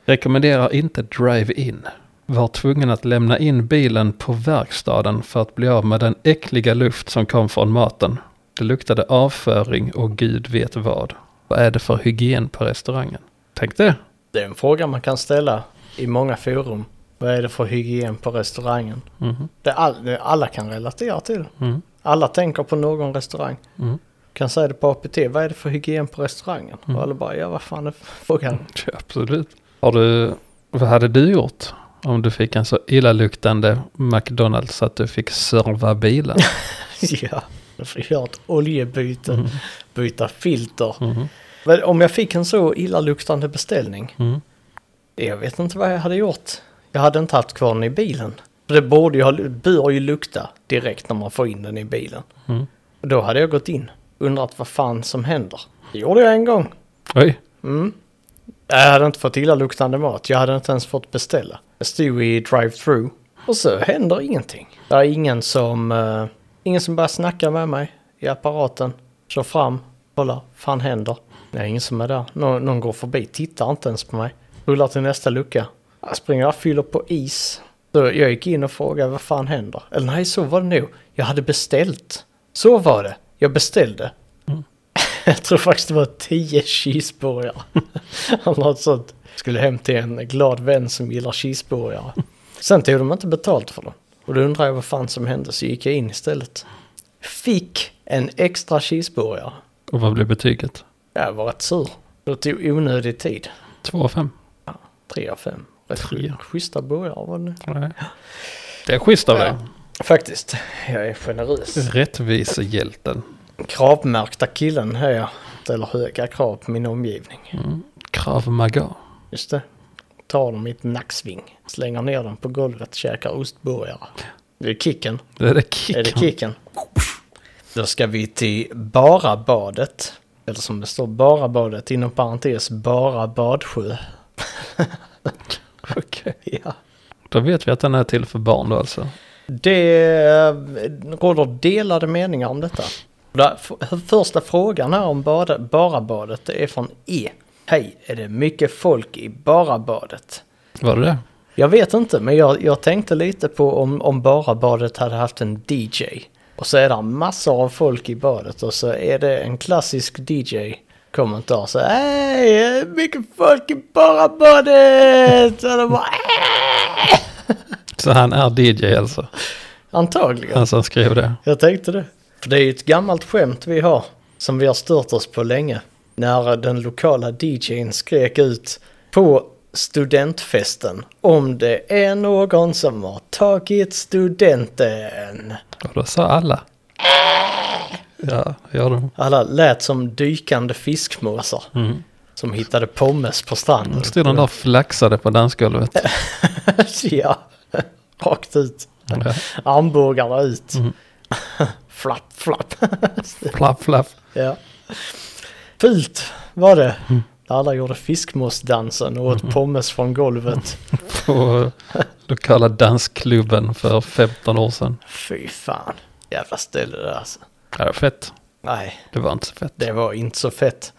Speaker 1: Rekommenderar inte drive-in. Var tvungen att lämna in bilen på verkstaden för att bli av med den äckliga luft som kom från maten. Det luktade avföring och gud vet vad. Vad är det för hygien på restaurangen? Tänk det.
Speaker 2: Det är en fråga man kan ställa i många forum. Vad är det för hygien på restaurangen?
Speaker 1: Mhm.
Speaker 2: Det all, det alla kan relatera till.
Speaker 1: Mm.
Speaker 2: Alla tänker på någon restaurang.
Speaker 1: Mm.
Speaker 2: Kan säga det på APT. Vad är det för hygien på restaurangen? Och alla bara, ja vad fan är frågan?
Speaker 1: Ja, Absolut. Har du, vad hade du gjort om du fick en så illaluktande McDonalds att du fick serva bilen?
Speaker 2: ja, jag får göra ett oljebyte.
Speaker 1: Mm.
Speaker 2: Byta filter.
Speaker 1: Mhm.
Speaker 2: Men om jag fick en så illaluktande beställning.
Speaker 1: Mm.
Speaker 2: Jag vet inte vad jag hade gjort. Jag hade inte haft kvar den i bilen. För det borde ju ha, bör ju lukta direkt när man får in den i bilen.
Speaker 1: Mm.
Speaker 2: Och då hade jag gått in, undrat vad fan som händer. Det gjorde jag en gång.
Speaker 1: Oj,
Speaker 2: Mm. Jag hade inte fått illaluktande mat, jag hade inte ens fått beställa. Jag stod i drive-through och så händer ingenting. Det är ingen som, eh, ingen som börjar snacka med mig i apparaten. Kör fram, kollar, fan händer? Det är ingen som är där. Nå- någon går förbi, tittar inte ens på mig. Rullar till nästa lucka. Jag springer och fyller på is. Så jag gick in och frågade vad fan händer? Eller nej, så var det nog. Jag hade beställt. Så var det. Jag beställde. Jag tror faktiskt det var 10 cheeseburgare. Eller något sånt. Skulle hem till en glad vän som gillar cheeseburgare. Sen tog de inte betalt för dem. Och då undrar jag vad fan som hände så gick jag in istället. Fick en extra cheeseburgare.
Speaker 1: och vad blev betyget?
Speaker 2: Jag var rätt sur. Det tog onödig tid.
Speaker 1: 2 av 5.
Speaker 2: 3 av 5. Rätt
Speaker 1: Tre.
Speaker 2: sch- schyssta burgare var det nu.
Speaker 1: Det är schysst av dig.
Speaker 2: Faktiskt. Jag är generös.
Speaker 1: Rättvisehjälten.
Speaker 2: Kravmärkta killen här jag. Ställer höga krav på min omgivning.
Speaker 1: Krav Maga.
Speaker 2: Just det. Tar dem i ett nacksving. Slänger ner dem på golvet, käkar ostburgare. Det är kicken.
Speaker 1: Det är det
Speaker 2: Är
Speaker 1: kicken.
Speaker 2: det kicken? Då ska vi till bara badet. Eller som det står, bara badet inom parentes, bara badsjö.
Speaker 1: Okej.
Speaker 2: Ja.
Speaker 1: Då vet vi att den är till för barn då alltså.
Speaker 2: Det eh, råder delade meningar om detta. Där, f- första frågan här om bada, Barabadet det är från E. Hej, är det mycket folk i Barabadet?
Speaker 1: Var det det?
Speaker 2: Jag vet inte, men jag, jag tänkte lite på om, om Barabadet hade haft en DJ. Och så är det massor av folk i badet och så är det en klassisk DJ-kommentar. Så hej, är det mycket folk i Barabadet! Och de bara "Äh!"
Speaker 1: Så han är DJ alltså?
Speaker 2: Antagligen.
Speaker 1: Han som skrev det?
Speaker 2: Jag tänkte det. För det är ju ett gammalt skämt vi har, som vi har stört oss på länge. När den lokala DJn skrek ut på studentfesten om det är någon som har tagit studenten.
Speaker 1: Och då sa alla. Ja, gör de.
Speaker 2: Alla lät som dykande fiskmåsar
Speaker 1: Mm.
Speaker 2: som hittade pommes på stranden.
Speaker 1: Stod den där och flaxade på dansgolvet.
Speaker 2: ja, rakt ut.
Speaker 1: Ja. Mm.
Speaker 2: Armbågarna ut. flapp, flapp.
Speaker 1: Flapp, flapp.
Speaker 2: Ja. Fult var det. Där alla gjorde fiskmåsdansen och åt pommes från golvet.
Speaker 1: På lokala dansklubben för 15 år sedan.
Speaker 2: Fy fan. Jävla ställe det där, alltså.
Speaker 1: Ja, det var fett.
Speaker 2: Nej,
Speaker 1: Det var inte så fett.
Speaker 2: det var inte så fett.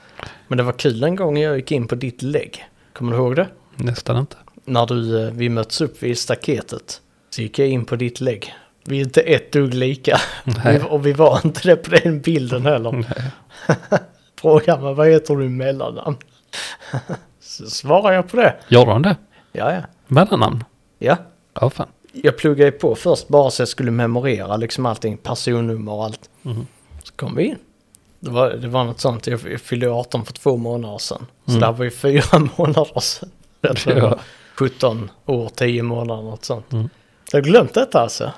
Speaker 2: Men det var kul en gång jag gick in på ditt lägg. Kommer du ihåg det?
Speaker 1: Nästan inte.
Speaker 2: När du, eh, vi möts upp vid staketet. Så gick jag in på ditt lägg. Vi är inte ett dugg lika.
Speaker 1: Nej. Mm.
Speaker 2: Vi- Och vi var inte det på den bilden heller.
Speaker 1: Nej.
Speaker 2: Fråga mig vad heter du i mellannamn? Så svarar jag på det.
Speaker 1: Gjorde han det?
Speaker 2: Ja, ja.
Speaker 1: Mellannamn?
Speaker 2: Ja,
Speaker 1: Ja, fan.
Speaker 2: jag pluggade ju på först bara så jag skulle memorera liksom allting, personnummer och allt. Så kom vi in. Det var, det var något sånt, jag jag fyllde 18 för två månader sedan. Så det här var ju fyra månader sedan. Jag tror det var
Speaker 1: Ja.
Speaker 2: 17 år, 10 månader, något sånt. Jag har glömt detta alltså.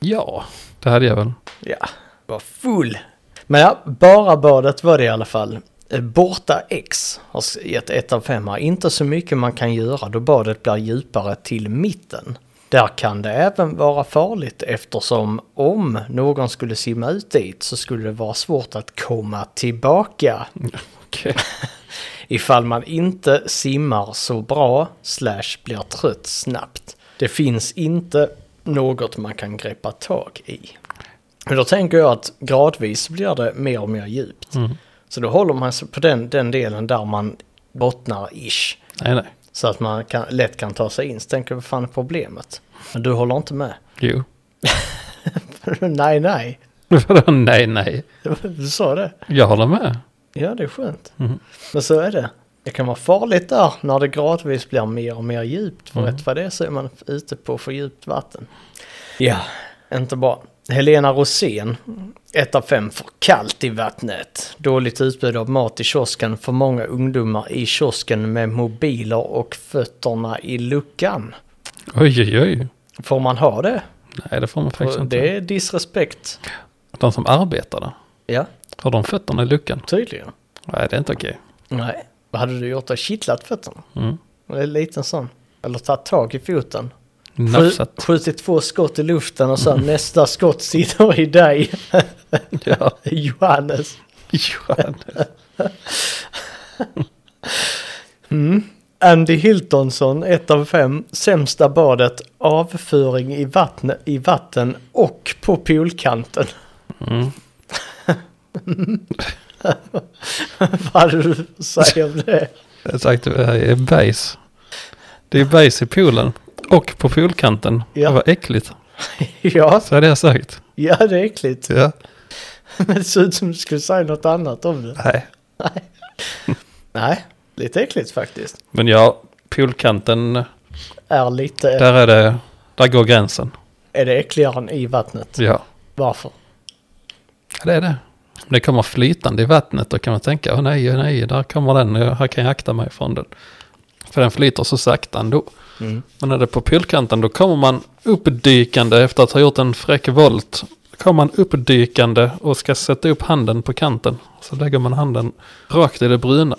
Speaker 1: Ja, det hade jag väl.
Speaker 2: Ja, var full. Men ja, bara badet var det i alla fall. Eh, Borta X har s- gett 1 av 5 här. Inte så mycket man kan göra då badet blir djupare till mitten. Där kan det även vara farligt eftersom om någon skulle simma ut dit så skulle det vara svårt att komma tillbaka.
Speaker 1: Okej.
Speaker 2: Ifall man inte simmar så bra slash blir trött snabbt. Det finns inte något man kan greppa tag i. Men då tänker jag att gradvis blir det mer och mer djupt. Så då håller man sig på den, den delen där man bottnar ish.
Speaker 1: Nej, nej.
Speaker 2: Så att man kan, lätt kan ta sig in. Så tänker jag, vad fan är problemet? Men du håller inte med?
Speaker 1: Jo.
Speaker 2: nej, nej.
Speaker 1: Vadå nej, nej?
Speaker 2: Du sa det.
Speaker 1: Jag håller med.
Speaker 2: Ja, det är skönt.
Speaker 1: Mhm.
Speaker 2: Men så är det. Det kan vara farligt där när det gradvis blir mer och mer djupt. För
Speaker 1: Mhm.
Speaker 2: rätt vad det är så är man ute på för djupt vatten. Ja, inte bra. Helena Rosén, 1 av 5 för kallt i vattnet. Dåligt utbud av mat i kiosken, för många ungdomar i kiosken med mobiler och fötterna i luckan.
Speaker 1: Oj, oj, oj.
Speaker 2: Får man ha det?
Speaker 1: Nej, det får man faktiskt inte.
Speaker 2: Det är disrespekt.
Speaker 1: De som arbetar där,
Speaker 2: Ja,
Speaker 1: har de fötterna i luckan?
Speaker 2: tydligen.
Speaker 1: Nej, det är inte okej.
Speaker 2: Nej, vad hade du gjort då? Kittlat fötterna?
Speaker 1: Mm.
Speaker 2: Det är en liten sån. Eller tagit tag i foten.
Speaker 1: Nafsat.
Speaker 2: Skju- Skjutit två skott i luften och sen nästa skott sitter i dig,
Speaker 1: Ja,
Speaker 2: Johannes.
Speaker 1: Johannes.
Speaker 2: Andy Hiltonsson, 1 av 5. Sämsta badet, avföring i, vattne, i vatten och på poolkanten.
Speaker 1: Mm.
Speaker 2: Vad hade du att säga om det?
Speaker 1: Jag har sagt det här är bajs. Det är bajs i poolen. Och på poolkanten.
Speaker 2: Ja.
Speaker 1: Det var äckligt.
Speaker 2: ja,
Speaker 1: Så hade jag sagt.
Speaker 2: ja, det är äckligt.
Speaker 1: Ja.
Speaker 2: Men det ser ut som du skulle säga något annat om det.
Speaker 1: Nej.
Speaker 2: Nej, lite äckligt faktiskt.
Speaker 1: Men ja, poolkanten,
Speaker 2: Är lite...
Speaker 1: där är det, där går gränsen.
Speaker 2: Är det äckligare än i vattnet?
Speaker 1: Ja,
Speaker 2: Varför?
Speaker 1: det är det. Om det kommer flytande i vattnet då kan man tänka, åh nej, åh nej, där kommer den, jag- här kan jag akta mig från den. För den flyter så sakta ändå. Men när det är på poolkanten då kommer man uppdykande efter att ha gjort en fräck volt. Kommer man uppdykande och ska sätta upp handen på kanten. Så lägger man handen rakt i det bruna.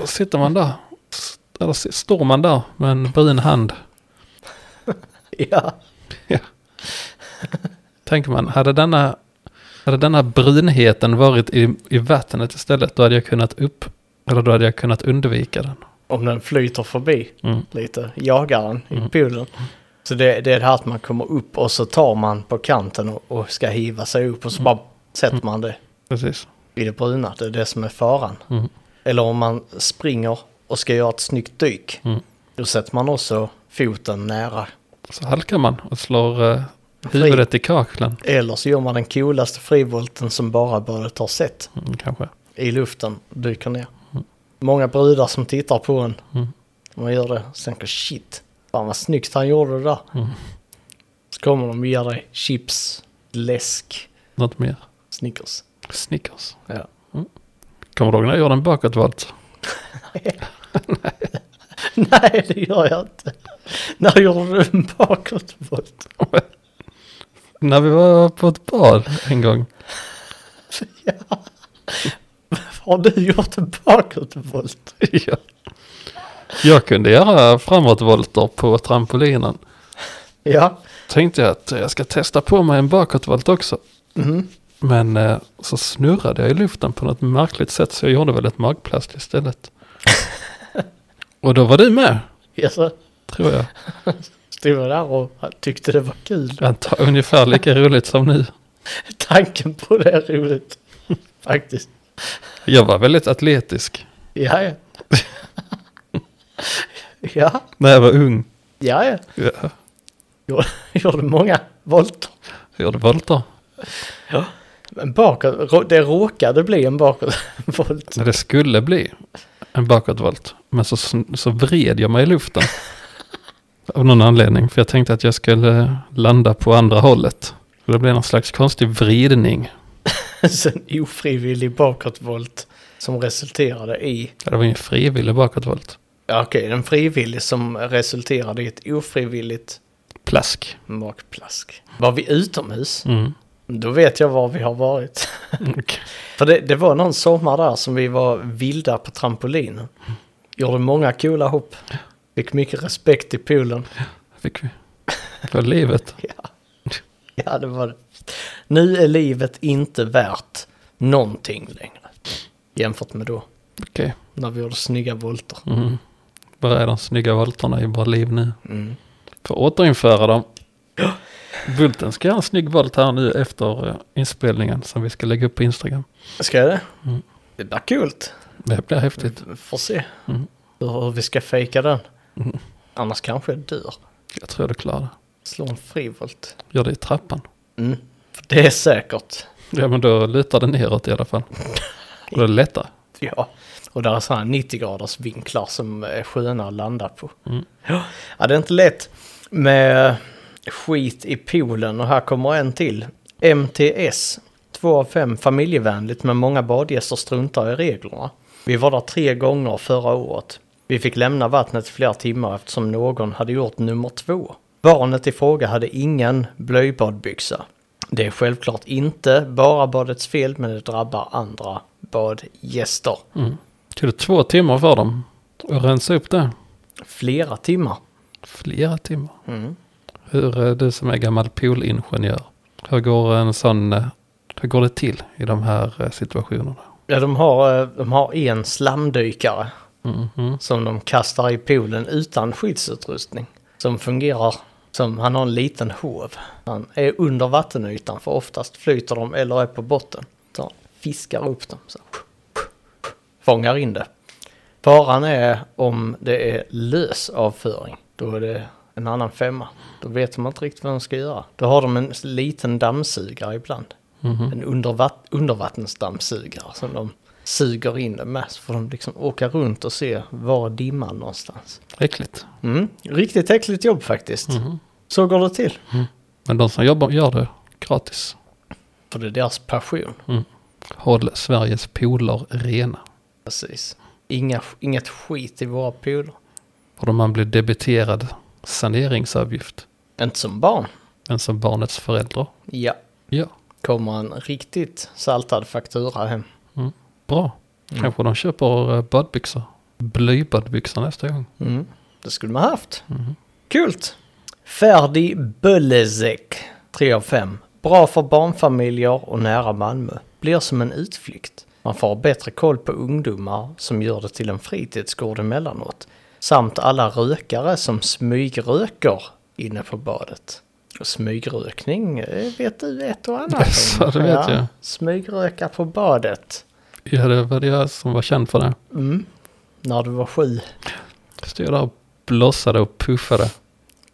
Speaker 1: Då sitter man där, s- eller s- står man där med en brun hand.
Speaker 2: Ja,
Speaker 1: Ja. Tänker man, hade denna, hade denna brunheten varit i, i vattnet istället, då hade jag kunnat upp, eller då hade jag kunnat undvika den.
Speaker 2: om den flyter förbi
Speaker 1: Mm.
Speaker 2: lite, jagar den i poolen. Så det, det är det här att
Speaker 1: Mm.
Speaker 2: man kommer upp och så tar man på kanten och, och ska hiva sig upp och så bara sätter man det
Speaker 1: Precis.
Speaker 2: i det bruna. Det är det som är faran.
Speaker 1: Mm.
Speaker 2: Eller om man springer och ska göra ett snyggt dyk.
Speaker 1: Mm.
Speaker 2: Då sätter man också foten nära.
Speaker 1: Så halkar man och slår eh, huvudet i kaklen.
Speaker 2: Eller så gör man den coolaste frivolten som bara brödet har sett.
Speaker 1: Mm, kanske.
Speaker 2: I luften, dyker ner. Många brudar som tittar på en.
Speaker 1: Mm.
Speaker 2: Man gör det, sen tänker shit. Fan vad snyggt han gjorde det där.
Speaker 1: Mm.
Speaker 2: Så kommer de och ger dig chips, läsk,
Speaker 1: Något mer.
Speaker 2: Snickers.
Speaker 1: Snickers. Mm.
Speaker 2: Ja.
Speaker 1: Kommer du ihåg när jag gjorde en bakåtvolt?
Speaker 2: Nej, det gör jag inte. När gjorde du en bakåtvolt?
Speaker 1: när vi var på ett bad en gång.
Speaker 2: Har du gjort en bakåtvolt?
Speaker 1: ja. Jag kunde göra framåtvolter på trampolinen.
Speaker 2: Ja.
Speaker 1: Tänkte jag att jag ska testa på mig en bakåtvolt också.
Speaker 2: Mhm.
Speaker 1: Men eh, så snurrade jag i luften på något märkligt sätt så jag gjorde väl ett magplast istället. och då var du med,
Speaker 2: Jag så
Speaker 1: tror jag.
Speaker 2: stod jag där och tyckte det var kul.
Speaker 1: Anta, ungefär lika roligt som nu.
Speaker 2: Tanken på det är roligt. Faktiskt.
Speaker 1: Jag var väldigt atletisk
Speaker 2: Ja, ja. Ja,
Speaker 1: när jag var ung.
Speaker 2: ja, ja.
Speaker 1: Ja,
Speaker 2: Gjorde- Gjorde många volter.
Speaker 1: Jag gjorde volter.
Speaker 2: Men bakåt, rå- det råkade bli en bakåtvolt.
Speaker 1: Det skulle bli en bakåtvolt. Men så, sn- så vred jag mig i luften. Av någon anledning. För jag tänkte att jag skulle landa på andra hållet. Så det blev någon slags konstig vridning.
Speaker 2: Så En ofrivillig bakåtvolt som resulterade i...
Speaker 1: Det var ingen frivillig bakåtvolt.
Speaker 2: Ja, okej, en frivillig som resulterade i ett ofrivilligt
Speaker 1: Plask.
Speaker 2: magplask. Var vi utomhus?
Speaker 1: Mm.
Speaker 2: Då vet jag var vi har varit.
Speaker 1: Och
Speaker 2: För det, det var någon sommar där som vi var vilda på trampolinen. Gjorde många coola hopp. Fick mycket respekt i poolen.
Speaker 1: Fick vi. Det var livet.
Speaker 2: Ja, det var det. Nu är livet inte värt någonting längre. Jämfört med då,
Speaker 1: Okej.
Speaker 2: när vi gjorde snygga volter.
Speaker 1: Mm. Var är de snygga volterna i våra liv nu?
Speaker 2: Mm.
Speaker 1: För att återinföra dem. Bulten ska göra en snygg volt här nu efter eh, inspelningen som vi ska lägga upp på Instagram.
Speaker 2: Ska jag det?
Speaker 1: Mm.
Speaker 2: Det blir kul.
Speaker 1: Det blir häftigt.
Speaker 2: Vi får se
Speaker 1: Mm.
Speaker 2: hur hur vi ska fejka den.
Speaker 1: Mm.
Speaker 2: Annars kanske jag dör.
Speaker 1: Jag tror du klarar det.
Speaker 2: Slå en frivolt.
Speaker 1: Gör det i trappan.
Speaker 2: Mm. För Det är säkert.
Speaker 1: Ja men då lutar det neråt i alla fall. Och då är det lättare.
Speaker 2: Ja, och där är sådana 90 graders vinklar som är sköna att landa på.
Speaker 1: Mm.
Speaker 2: Ja, Ja, det är inte lätt med skit i poolen och här kommer en till. MTS, 2 av 5 familjevänligt men många badgäster struntar i reglerna. Vi var där tre gånger förra året. Vi fick lämna vattnet i flera timmar eftersom någon hade gjort nummer två. Barnet i fråga hade ingen blöjbadbyxa. Det är självklart inte bara badets fel men det drabbar andra badgäster.
Speaker 1: Mm. Tog det två timmar för dem att rensa upp det?
Speaker 2: Flera timmar.
Speaker 1: Flera timmar.
Speaker 2: Mm.
Speaker 1: Hur, eh, du som är gammal poolingenjör, hur går en sån, eh, hur går det till i de här eh, situationerna?
Speaker 2: Ja, de har, eh, de har en slamdykare
Speaker 1: Mhm.
Speaker 2: som de kastar i poolen utan skyddsutrustning. Som fungerar som, han har en liten hov. Han är under vattenytan för oftast flyter de eller är på botten. Så han fiskar upp dem. Så. Fångar in det. Faran är om det är lös avföring. Då är det en annan femma. Då vet de inte riktigt vad de ska göra. Då har de en liten dammsugare ibland. En undervatt- undervattensdammsugare som de suger in det med. Så får de liksom åka runt och se var är dimman någonstans.
Speaker 1: Äckligt.
Speaker 2: Mm. Riktigt äckligt jobb faktiskt.
Speaker 1: Mm.
Speaker 2: Så går det till.
Speaker 1: Mm-hmm. Men de som jobbar gör det gratis.
Speaker 2: För det är deras passion.
Speaker 1: Håll Sveriges pooler rena.
Speaker 2: Precis. Inga, inget skit i våra pooler.
Speaker 1: Och då man blir debiterad saneringsavgift.
Speaker 2: Inte som barn.
Speaker 1: Men som barnets föräldrar.
Speaker 2: Ja.
Speaker 1: Ja,
Speaker 2: Kommer en riktigt saltad faktura hem.
Speaker 1: bra. Kanske de köper eh, badbyxor. Blybadbyxor nästa gång.
Speaker 2: Mm. Det skulle man haft.
Speaker 1: Mm.
Speaker 2: Kul! Ferdi Bölezek, 3 av 5. Bra för barnfamiljer och nära Malmö. Blir som en utflykt. Man får bättre koll på ungdomar som gör det till en fritidsgård emellanåt. Samt alla rökare som smygröker inne på badet. För smygrökning eh, vet du ett och annat om.
Speaker 1: Så det vet jag.
Speaker 2: Smygröka på badet.
Speaker 1: Ja, det var det jag som var känd för det.
Speaker 2: Mm. När du var sju
Speaker 1: Stod där och blossade och puffade.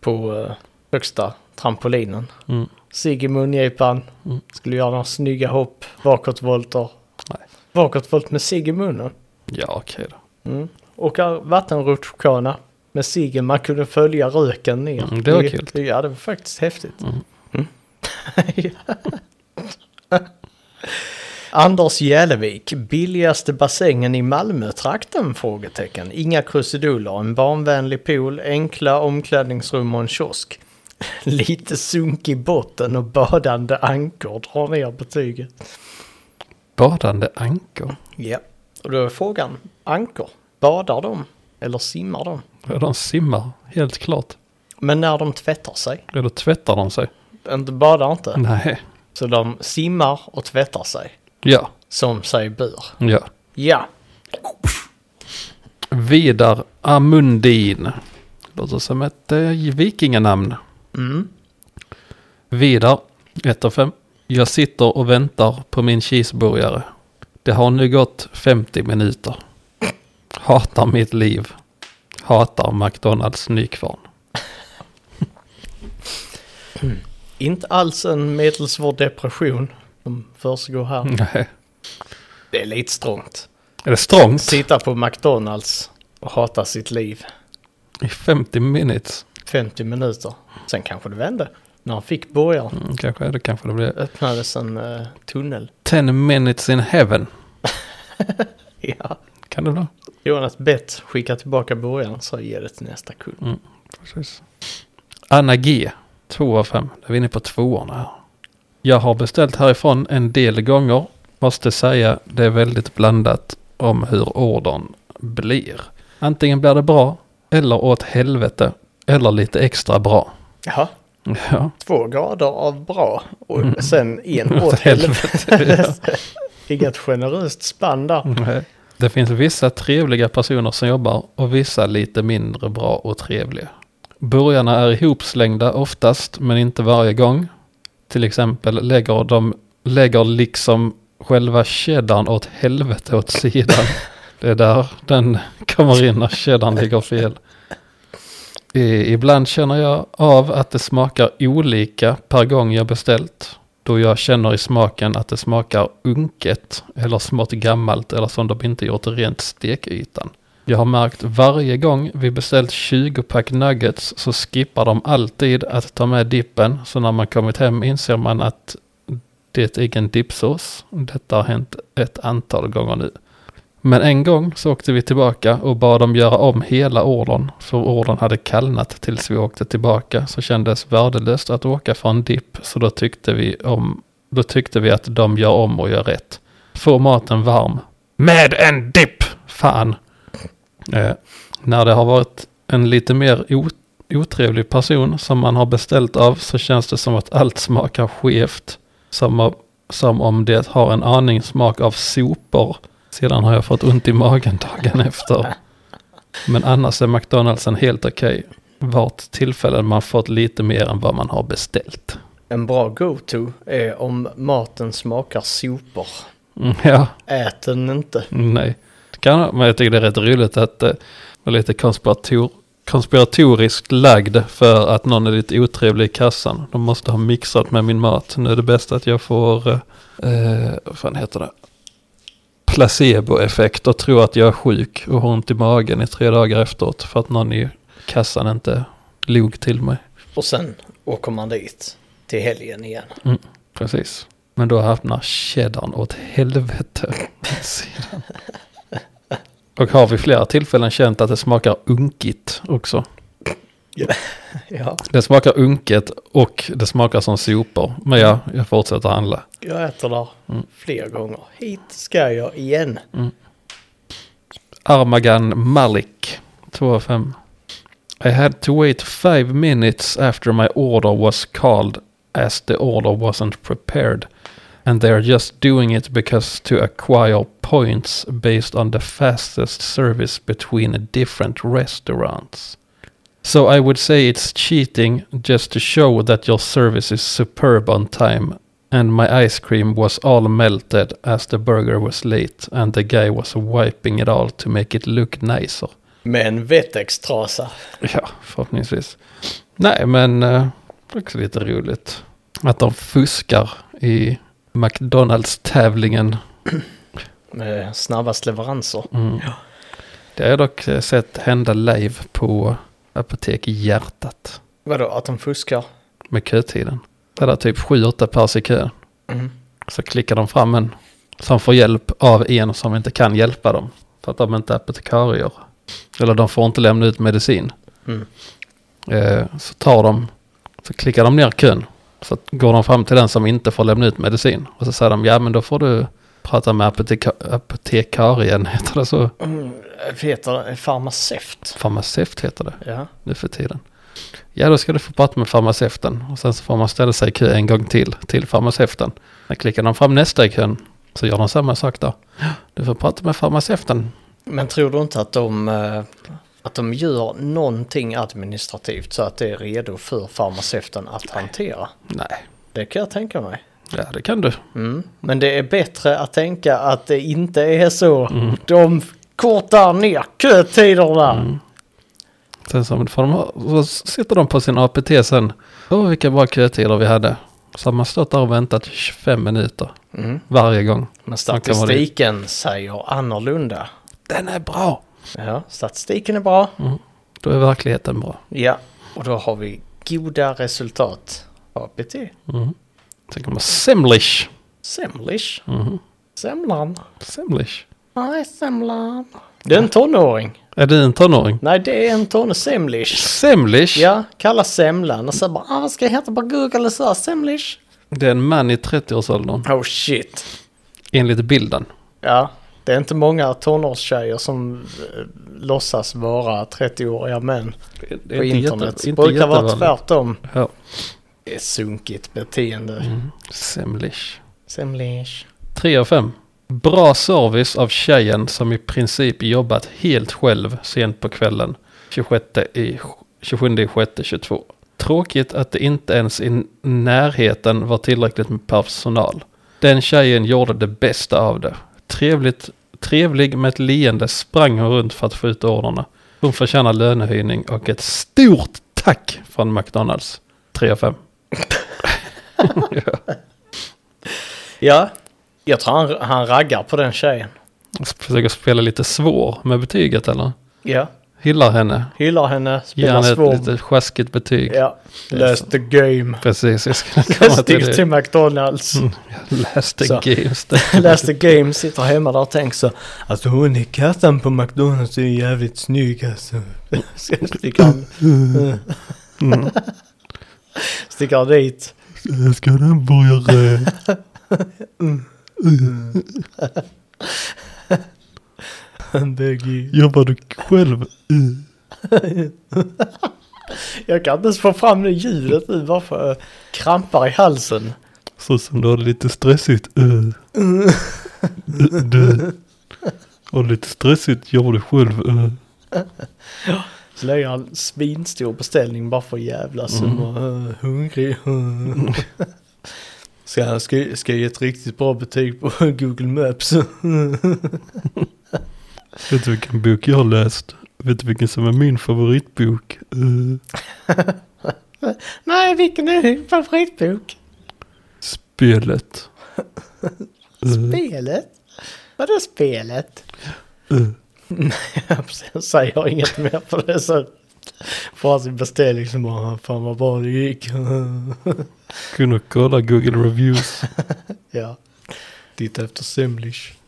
Speaker 2: på eh, högsta trampolinen.
Speaker 1: Mm.
Speaker 2: Sigg i mungipan.
Speaker 1: Mm.
Speaker 2: Skulle göra några snygga hopp. Bakåtvolter.
Speaker 1: Nej.
Speaker 2: Bakåtvolt med cigg i munnen.
Speaker 1: Ja, okej då.
Speaker 2: Mm. Och här vattenrutschkana med ciggen. Man kunde följa röken ner.
Speaker 1: Mm, det var kul.
Speaker 2: Ja, det var faktiskt häftigt. Mm.
Speaker 1: Mm.
Speaker 2: Ja. Anders Jälevik, billigaste bassängen i Malmötrakten? Frågetecken. Inga krusiduller, en barnvänlig pool, enkla omklädningsrum och en kiosk. Lite sunk i botten och badande ankor drar ner betyget.
Speaker 1: Badande ankor.
Speaker 2: Ja, och då är frågan, ankor, badar de eller simmar de?
Speaker 1: Ja, de simmar, helt klart.
Speaker 2: Men när de tvättar sig,
Speaker 1: Ja, då tvättar de sig.
Speaker 2: inte badar inte,
Speaker 1: Nej.
Speaker 2: så de simmar och tvättar sig,
Speaker 1: Ja,
Speaker 2: som sig bör.
Speaker 1: ja.
Speaker 2: Ja,
Speaker 1: Vidar Amundin. Låter som ett eh, vikinganamn.
Speaker 2: mm.
Speaker 1: Vidar, 1 av 5. Jag sitter och väntar på min cheeseburgare. Det har nu gått 50 minuter. Hatar mitt liv. Hatar McDonalds nykvarn.
Speaker 2: inte alls en medelsvår depression som försiggår här.
Speaker 1: Nej.
Speaker 2: Det är lite strångt.
Speaker 1: Är det strångt?
Speaker 2: Sitta på McDonalds och hata sitt liv
Speaker 1: I 50 minutes.
Speaker 2: 50 minuter. Sen kanske det vände. När han fick burgaren
Speaker 1: Mm, kanske det kanske det blir.
Speaker 2: öppnades en eh, tunnel.
Speaker 1: 10 minutes in heaven.
Speaker 2: Ja.
Speaker 1: Kan det bli?
Speaker 2: Jonas Bett skickar tillbaka burgaren så ge det till nästa kund.
Speaker 1: Precis. Anna G. 2 av 5. Då är vi inne på tvåorna här. Jag har beställt härifrån en del gånger. Måste säga det är väldigt blandat om hur ordern blir. Antingen blir det bra eller åt helvete eller lite extra bra.
Speaker 2: Jaha.
Speaker 1: Ja,
Speaker 2: Två grader av bra och sen en åt helvete. Inget generöst spann där.
Speaker 1: nej. Mm. Det finns vissa trevliga personer som jobbar och vissa lite mindre bra och trevliga. Burgarna är ihopslängda oftast men inte varje gång. Till exempel lägger de lägger liksom själva cheddarn åt helvete åt sidan. Det är där den kommer in när cheddarn ligger fel. I, ibland känner jag av att det smakar olika per gång jag beställt. Då jag känner i smaken att det smakar unket eller smått gammalt eller som de inte gjort rent stekytan. Jag har märkt varje gång vi beställt 20-pack nuggets så skippar de alltid att ta med dippen. Så när man kommit hem inser man att det är egen dipsås. Detta har hänt ett antal gånger nu. Men en gång så åkte vi tillbaka och bad dem göra om hela ordern. För ordern hade kallnat tills vi åkte tillbaka. Så kändes värdelöst att åka för en dipp. Så då tyckte vi om. Då tyckte vi att de gör om och gör rätt. Få maten varm. Med en dipp! Fan! Eh, när det har varit en lite mer o- otrevlig person som man har beställt av så känns det som att allt smakar skevt. Som, om- som om det har en aning smak av sopor. Sedan har jag fått ont i magen dagen efter. Men annars är McDonald's en helt okej. Vart tillfällen man fått lite mer än vad man har beställt.
Speaker 2: En bra go-to är om maten smakar sopor.
Speaker 1: Mm, ja,
Speaker 2: Ät den inte.
Speaker 1: Mm, nej. Det Kan, men jag tycker det är rätt roligt att eh, vara lite konspirator, konspiratoriskt lagd för att någon är lite otrevlig i kassan. De måste ha mixat med min mat. Nu är det bäst att jag får, eh, eh, vad fan heter det? placeboeffekt och tror att jag är sjuk och har ont i magen i tre dagar efteråt för att någon i kassan inte log till mig.
Speaker 2: Och sen åker man dit till helgen igen.
Speaker 1: Precis. Men då hamnar cheddarn åt helvete. sedan. och har vid flera tillfällen känt att det smakar unkigt också.
Speaker 2: Ja,
Speaker 1: Det smakar unket och det smakar som sopor. Men ja, jag fortsätter handla.
Speaker 2: jag äter där fler gånger. Hit ska jag igen.
Speaker 1: Armagan Malik, 2 av 5. I had to wait five minutes after my order was called as the order wasn't prepared. And they're just doing it because to acquire points based on the fastest service between different restaurants. So I would say it's cheating just to show that your service is superb on time. And my ice cream was all melted as the burger was late and the guy was wiping it all to make it look nicer.
Speaker 2: Med en vettextrasa.
Speaker 1: Ja, förhoppningsvis. Nej, men eh, det är också lite roligt. Att de fuskar i McDonalds-tävlingen.
Speaker 2: Med snabbast leveranser.
Speaker 1: Mm. Det har jag dock eh, sett hända live på Apotek Hjärtat
Speaker 2: Vadå, att de fuskar?
Speaker 1: med kötiden. Det är typ 7-8 pers i kö.
Speaker 2: Mm.
Speaker 1: Så klickar de fram en som får hjälp av en som inte kan hjälpa dem. För att de inte är apotekarier. Eller de får inte lämna ut medicin.
Speaker 2: Mm.
Speaker 1: Eh, så tar de, så klickar de ner kön. Så går de fram till den som inte får lämna ut medicin. Och så säger de, ja men då får du prata med apoteka- apotekarien, heter det så?
Speaker 2: Mm, Heter det farmaceut?
Speaker 1: Farmaceut heter det
Speaker 2: Ja.
Speaker 1: nu för tiden. Ja, då ska du få prata med farmaceuten och sen så får man ställa sig i kö en gång till till farmaceuten. Sen klickar de fram nästa i kön så gör de samma sak där. Du får prata med farmaceuten.
Speaker 2: Men tror du inte att de, eh, att de gör någonting administrativt så att det är redo för farmaceuten att hantera?
Speaker 1: Nej,
Speaker 2: Det kan jag tänka mig.
Speaker 1: ja det kan du.
Speaker 2: Mm. Men det är bättre att tänka att det inte är så. De kortar ner kötiderna.
Speaker 1: Sen så, får de, ha- så sitter de på sin APT sen. Åh, vilka bra kötider vi hade. Så har man stått där och väntat 25 minuter
Speaker 2: Mm.
Speaker 1: varje gång.
Speaker 2: Men
Speaker 1: Man kan vara dit.
Speaker 2: statistiken säger annorlunda.
Speaker 1: Den är bra.
Speaker 2: Ja, statistiken är bra.
Speaker 1: Då är verkligheten bra.
Speaker 2: Ja, och då har vi goda resultat. APT.
Speaker 1: Sen kommer Semlish.
Speaker 2: Semlish.
Speaker 1: Mhm.
Speaker 2: Semlan.
Speaker 1: Semlish.
Speaker 2: Nej, semlan. Det är en tonåring.
Speaker 1: Är du en tonåring?
Speaker 2: Nej, det är en tonåring. Semlish.
Speaker 1: Semlish?
Speaker 2: Ja, kalla semlan och så bara, ah, vad ska jag heta på Google och så, här, semlish.
Speaker 1: Det är en man i 30-årsåldern,
Speaker 2: Oh shit.
Speaker 1: enligt bilden.
Speaker 2: Ja, det är inte många tonårstjejer som eh, låtsas vara 30-åriga män
Speaker 1: Det
Speaker 2: på
Speaker 1: är inte
Speaker 2: internet.
Speaker 1: jätte- inte
Speaker 2: brukar vara
Speaker 1: jättevanligt.
Speaker 2: tvärtom.
Speaker 1: Ja.
Speaker 2: Det är sunkigt beteende.
Speaker 1: Mm. Semlish.
Speaker 2: Semlish.
Speaker 1: 3 av 5. Bra service av tjejen som i princip jobbat helt själv sent på kvällen. 26 i 27 i 6 22. Tråkigt att det inte ens i närheten var tillräckligt med personal. Den tjejen gjorde det bästa av det. Trevligt, trevlig med ett leende sprang hon runt för att få ut orderna. Hon förtjänar lönehöjning och ett stort tack från McDonalds. 3 av 5.
Speaker 2: Ja, jag tror han, han raggar på den tjejen.
Speaker 1: Försöker spela lite svår med betyget eller?
Speaker 2: Ja,
Speaker 1: Hyllar henne.
Speaker 2: hyllar henne,
Speaker 1: Ge
Speaker 2: spelar
Speaker 1: henne ett
Speaker 2: svår.
Speaker 1: lite sjaskigt betyg.
Speaker 2: Ja,
Speaker 1: är
Speaker 2: lös
Speaker 1: så.
Speaker 2: the game.
Speaker 1: Precis, jag skulle komma
Speaker 2: Lös
Speaker 1: till
Speaker 2: till, till
Speaker 1: det.
Speaker 2: McDonalds.
Speaker 1: Läs the
Speaker 2: Så.
Speaker 1: games.
Speaker 2: Läs the game, sitter hemma där och tänker så. Alltså hon i kassan på McDonalds är ju jävligt snygg alltså. Stickar han.
Speaker 3: Eh,
Speaker 2: Stickar han dit.
Speaker 3: Ska den börja? Eh,
Speaker 2: Böggy.
Speaker 3: Jobbar du själv? eh,
Speaker 2: Jag kan inte ens få fram det ljudet nu bara för jag krampar i halsen.
Speaker 3: Så som du har det lite stressigt. eh. Du- Du har det lite stressigt. Jobbar du själv? eh.
Speaker 2: Så lägger han svinstor beställning bara för att jävlas. Mm. Och, uh, hungrig. Uh. Ska, jag- ska, jag- ska jag ge ett riktigt bra betyg på Google Maps?
Speaker 3: Vet du vilken bok jag har läst? Vet du vilken som är min favoritbok? Eh,
Speaker 2: Nej, vilken är din favoritbok?
Speaker 3: Spelet.
Speaker 2: Mm.
Speaker 3: Eh,
Speaker 2: Spelet? Vadå spelet?
Speaker 3: eh.
Speaker 2: Jag säger inget mer på det så får han sin beställning som bara fan vad bra det gick.
Speaker 3: Kunde kolla Google Reviews.
Speaker 2: ja. Titta efter Semlish.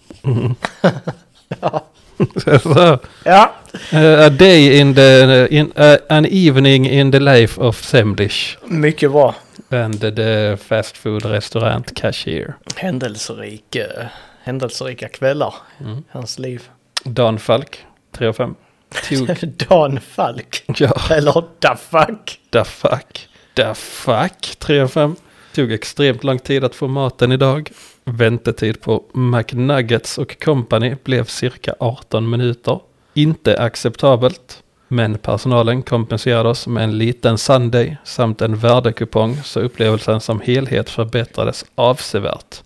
Speaker 1: Så,
Speaker 2: Ja.
Speaker 1: eh, a day in the... In, eh, an evening in the life of Semlish.
Speaker 2: Mycket bra.
Speaker 1: And the fast food restaurant cashier.
Speaker 2: Händelserik, eh, händelserika kvällar.
Speaker 1: Mm.
Speaker 2: Hans liv.
Speaker 1: Dan Falk, 3 av 5. Tog...
Speaker 2: Dan Falk.
Speaker 1: ja,
Speaker 2: Eller Da Fuck.
Speaker 1: da fuck. Da fuck, 3 av 5. Tog extremt lång tid att få maten idag. Väntetid på McNuggets och Company blev cirka 18 minuter. Inte acceptabelt. Men personalen kompenserade oss med en liten Sunday samt en värdekupong så upplevelsen som helhet förbättrades avsevärt.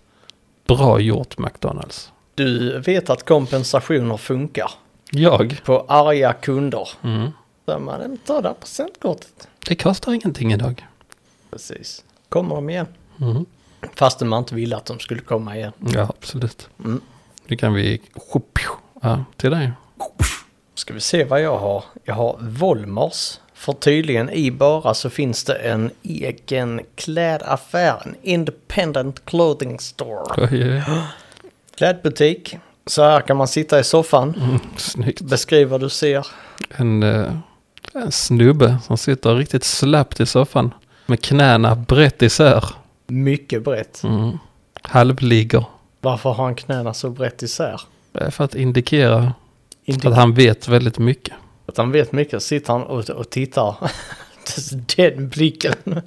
Speaker 1: Bra gjort McDonalds.
Speaker 2: Du vet att kompensationer funkar
Speaker 1: Jag?
Speaker 2: på arga kunder.
Speaker 1: Mm.
Speaker 2: Där man tar det här presentkortet.
Speaker 1: Det kostar ingenting idag.
Speaker 2: Precis. Kommer de igen.
Speaker 1: Mm.
Speaker 2: Fastän man inte ville att de skulle komma igen.
Speaker 1: Ja, absolut.
Speaker 2: Mm.
Speaker 1: Nu kan vi... Ja, till dig.
Speaker 2: Ska vi se vad jag har. Jag har Volmars. För tydligen i Bara så finns det en egen klädaffär. En independent clothing store.
Speaker 1: Oj, oj, oj.
Speaker 2: Klädbutik. Så här kan man sitta i soffan.
Speaker 1: Mm, snyggt.
Speaker 2: Beskriv vad du ser.
Speaker 1: En, eh, en snubbe som sitter riktigt slappt i soffan. Med knäna brett isär.
Speaker 2: Mycket brett.
Speaker 1: Mm. Halvligger.
Speaker 2: Varför har han knäna så brett isär?
Speaker 1: Det är För att indikera
Speaker 2: Inte
Speaker 1: att han vet väldigt mycket.
Speaker 2: att han vet mycket. Sitter han och, och tittar. Den blicken.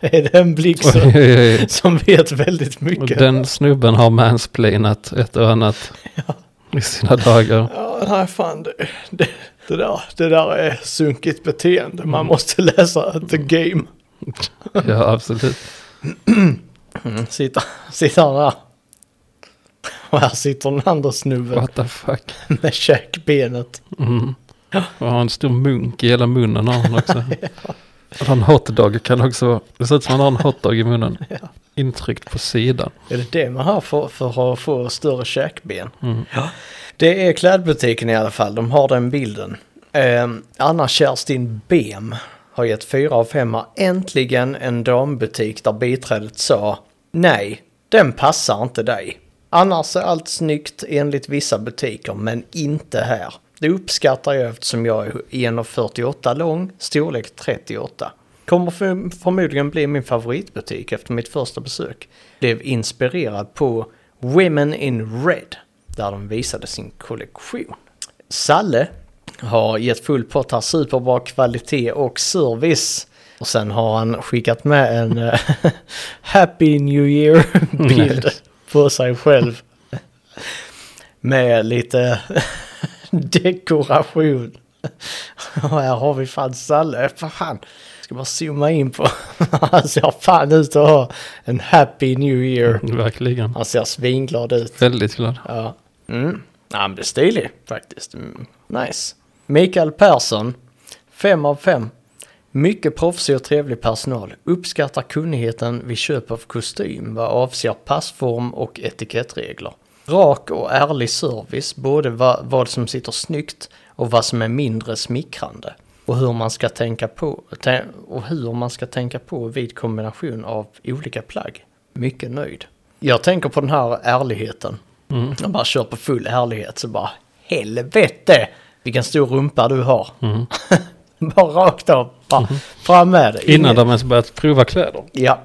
Speaker 2: är det en blick som,
Speaker 1: Oj, oj, oj.
Speaker 2: som vet väldigt
Speaker 1: Och
Speaker 2: mycket?
Speaker 1: Den snubben har mansplainat ett och annat i sina dagar.
Speaker 2: Ja, nej fan. Det, det, det, där, det där är sunkigt beteende. Man måste läsa the game.
Speaker 1: Ja, absolut.
Speaker 2: Sitter, sitter han där. Och här sitter den andra snubben
Speaker 1: What the fuck.
Speaker 2: med käkbenet.
Speaker 1: Mm. Och har en stor munk i hela munnen har han också. Och har en hotdog kan också vara. Det ser ut som han har en hotdog i munnen. Intryckt på sidan.
Speaker 2: Är det det man har för, för att få större käkben?
Speaker 1: Mm.
Speaker 2: Ja. Det är klädbutiken i alla fall, de har den bilden. Eh, Anna Kerstin Bem har gett fyra av femma. Äntligen en dambutik där biträdet sa nej, den passar inte dig. Annars är allt snyggt enligt vissa butiker, men inte här. Det uppskattar jag eftersom jag är 1,48 lång, storlek 38. Kommer för, förmodligen bli min favoritbutik efter mitt första besök. Blev inspirerad på Women in Red, där de visade sin kollektion. Salle har gett full pott här, superbra kvalitet och service. Och sen har han skickat med en eh, Happy New Year-bild på sig själv. Med lite dekoration. Och här har vi fan Salle. Fan, ska bara zooma in på. Han ser fan ut att ha en Happy New Year.
Speaker 1: Verkligen.
Speaker 2: Han ser svinglad ut.
Speaker 1: Väldigt glad.
Speaker 2: Ja. Mm. Ja, men det är stilig faktiskt. Mm. Nice. Mikael Persson, 5 av 5. Mycket proffsig och trevlig personal. Uppskattar kunnigheten vid köp av kostym vad avser passform och etikettregler. Rak och ärlig service, både va- vad som sitter snyggt och vad som är mindre smickrande. Och hur man ska tänka på, tä- och hur man ska tänka på vid kombination av olika plagg. Mycket nöjd. Jag tänker på den här ärligheten. De bara kör på full ärlighet så bara helvete vilken stor rumpa du har. bara rakt av, bara fram med det.
Speaker 1: Innan
Speaker 2: Inget-
Speaker 1: de ens börjat prova kläder.
Speaker 2: Ja.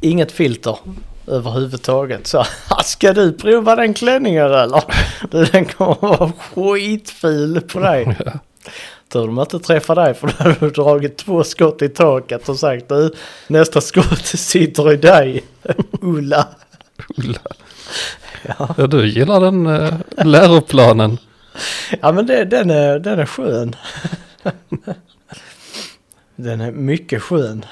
Speaker 2: Inget filter överhuvudtaget. Så ska du prova den klänningen eller? Du, den kommer vara skitfil på
Speaker 1: Mm.
Speaker 2: dig. Tur de inte träffar dig för då hade du dragit två skott i taket och sagt du nästa skott sitter i dig. Ulla.
Speaker 1: Ulla. Ja, du gillar den eh, läroplanen.
Speaker 2: Ja men det, den, är, den är skön. Den är mycket skön.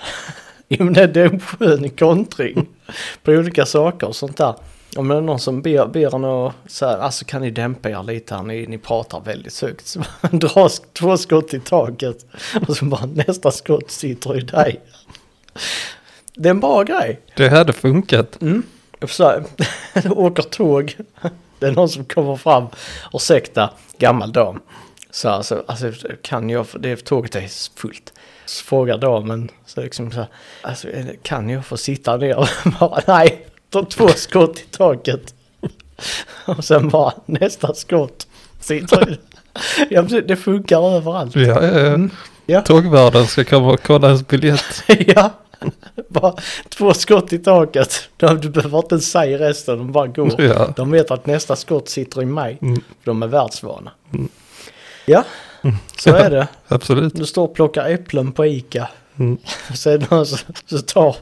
Speaker 2: Jo men det det är en skön kontring på olika saker och sånt där. Om det är någon som ber, ber en att så här, alltså kan ni dämpa er lite här, ni, ni pratar väldigt högt. Så dra sk- två skott i taket och så bara nästa skott sitter i dig. Det är en bra grej.
Speaker 1: Det hade funkat.
Speaker 2: Så här, åker tåg. Det är någon som kommer fram. Ursäkta, gammal dam. Så här, så, alltså, kan jag, få- det är, tåget är fullt. Så frågar damen, så liksom så här, alltså, är det- kan jag få sitta ner? bara, nej, ta två skott i taket. Och sen bara nästa skott. Sitter i- ja, men det- det funkar överallt.
Speaker 1: Ja, eh,
Speaker 2: Mm. Ja.
Speaker 1: Tågvärden ska komma och kolla ens biljett.
Speaker 2: ja, bara två skott i taket. De- Du behöver inte ens säga resten, de bara går.
Speaker 1: Ja.
Speaker 2: De vet att nästa skott sitter i mig.
Speaker 1: Mm.
Speaker 2: För de är världsvana. Ja, så är det.
Speaker 1: Absolut.
Speaker 2: Du står och plockar äpplen på Ica.
Speaker 1: Mm.
Speaker 2: Sen så, så tar,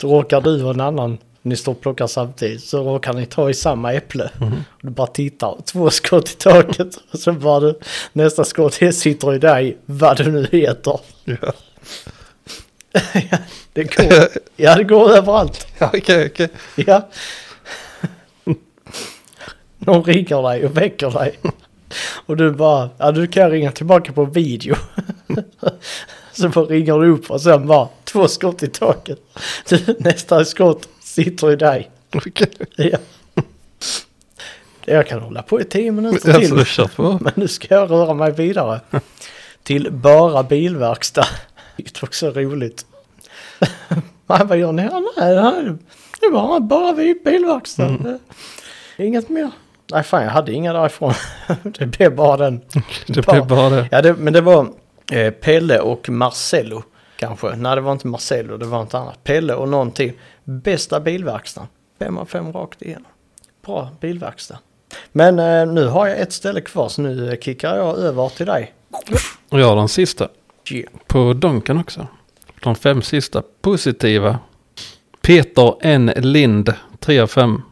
Speaker 2: så råkar du och en annan Ni står och plockar samtidigt så råkar ni ta i samma äpple.
Speaker 1: Mm.
Speaker 2: Och du bara tittar, två skott i taket. Och så bara du, nästa skott sitter i dig, vad du nu heter.
Speaker 1: Ja.
Speaker 2: Det går, ja, det går överallt.
Speaker 1: Ja, okej, okej.
Speaker 2: Ja. Någon ringer dig och väcker dig. Och du bara, ja du kan ringa tillbaka på video. Så bara ringer du upp och sen bara två skott i taket. Du, Nästa skott sitter i dig.
Speaker 1: Okej.
Speaker 2: Ja. Jag kan hålla på i tio minuter till.
Speaker 1: Alltså, kör på.
Speaker 2: Men nu ska jag röra mig vidare. Till bara bilverkstad. Vilket också är roligt. Man, vad gör ni här? Nej, det här- det var bara vid bilverkstad. Inget mer. Nej fan jag hade inga därifrån. Det blev bara den.
Speaker 1: Det blir bara det.
Speaker 2: Ja det, men det var eh, Pelle och Marcello kanske. Nej det var inte Marcello, det var inte annat. Pelle och någon till. Bästa bilverkstaden. Fem av fem rakt igen. Bra bilverkstad. Men eh, nu har jag ett ställe kvar så nu eh, kickar jag över till dig.
Speaker 1: Och jag har den sista.
Speaker 2: Yeah.
Speaker 1: På Donken också. De fem sista positiva. Peter N. Lind, 3 av 5.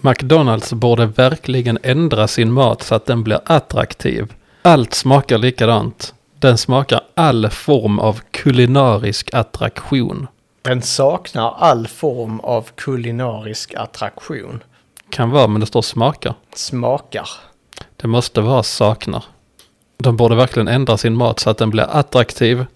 Speaker 1: McDonalds borde verkligen ändra sin mat så att den blir attraktiv. Allt smakar likadant. Den smakar all form av kulinarisk attraktion.
Speaker 2: Den saknar all form av kulinarisk attraktion.
Speaker 1: Kan vara, men det står smakar.
Speaker 2: Smakar.
Speaker 1: Det måste vara saknar. De borde verkligen ändra sin mat så att den blir attraktiv.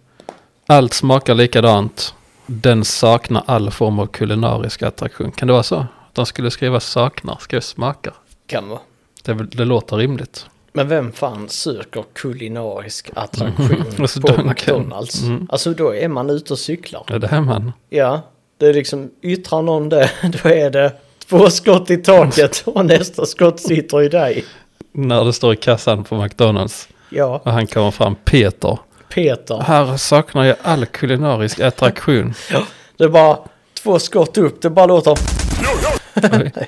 Speaker 1: Allt smakar likadant. Den saknar all form av kulinarisk attraktion. Kan det vara så? De skulle skriva saknar, skriva smakar.
Speaker 2: Kan vara.
Speaker 1: Det, är väl- det låter rimligt.
Speaker 2: Men vem fan söker kulinarisk attraktion
Speaker 1: Alltså,
Speaker 2: på
Speaker 1: Dunkin'.
Speaker 2: McDonalds? Alltså då är man ute och cyklar.
Speaker 1: Är det här man?
Speaker 2: Ja, det är liksom yttrar någon det, då är det två skott i taket och nästa skott sitter i dig.
Speaker 1: När det står i kassan på McDonalds
Speaker 2: Ja,
Speaker 1: och han kommer fram, Peter.
Speaker 2: Peter.
Speaker 1: Här saknar jag all kulinarisk attraktion.
Speaker 2: Det är bara två skott upp, det bara låter
Speaker 1: Oj,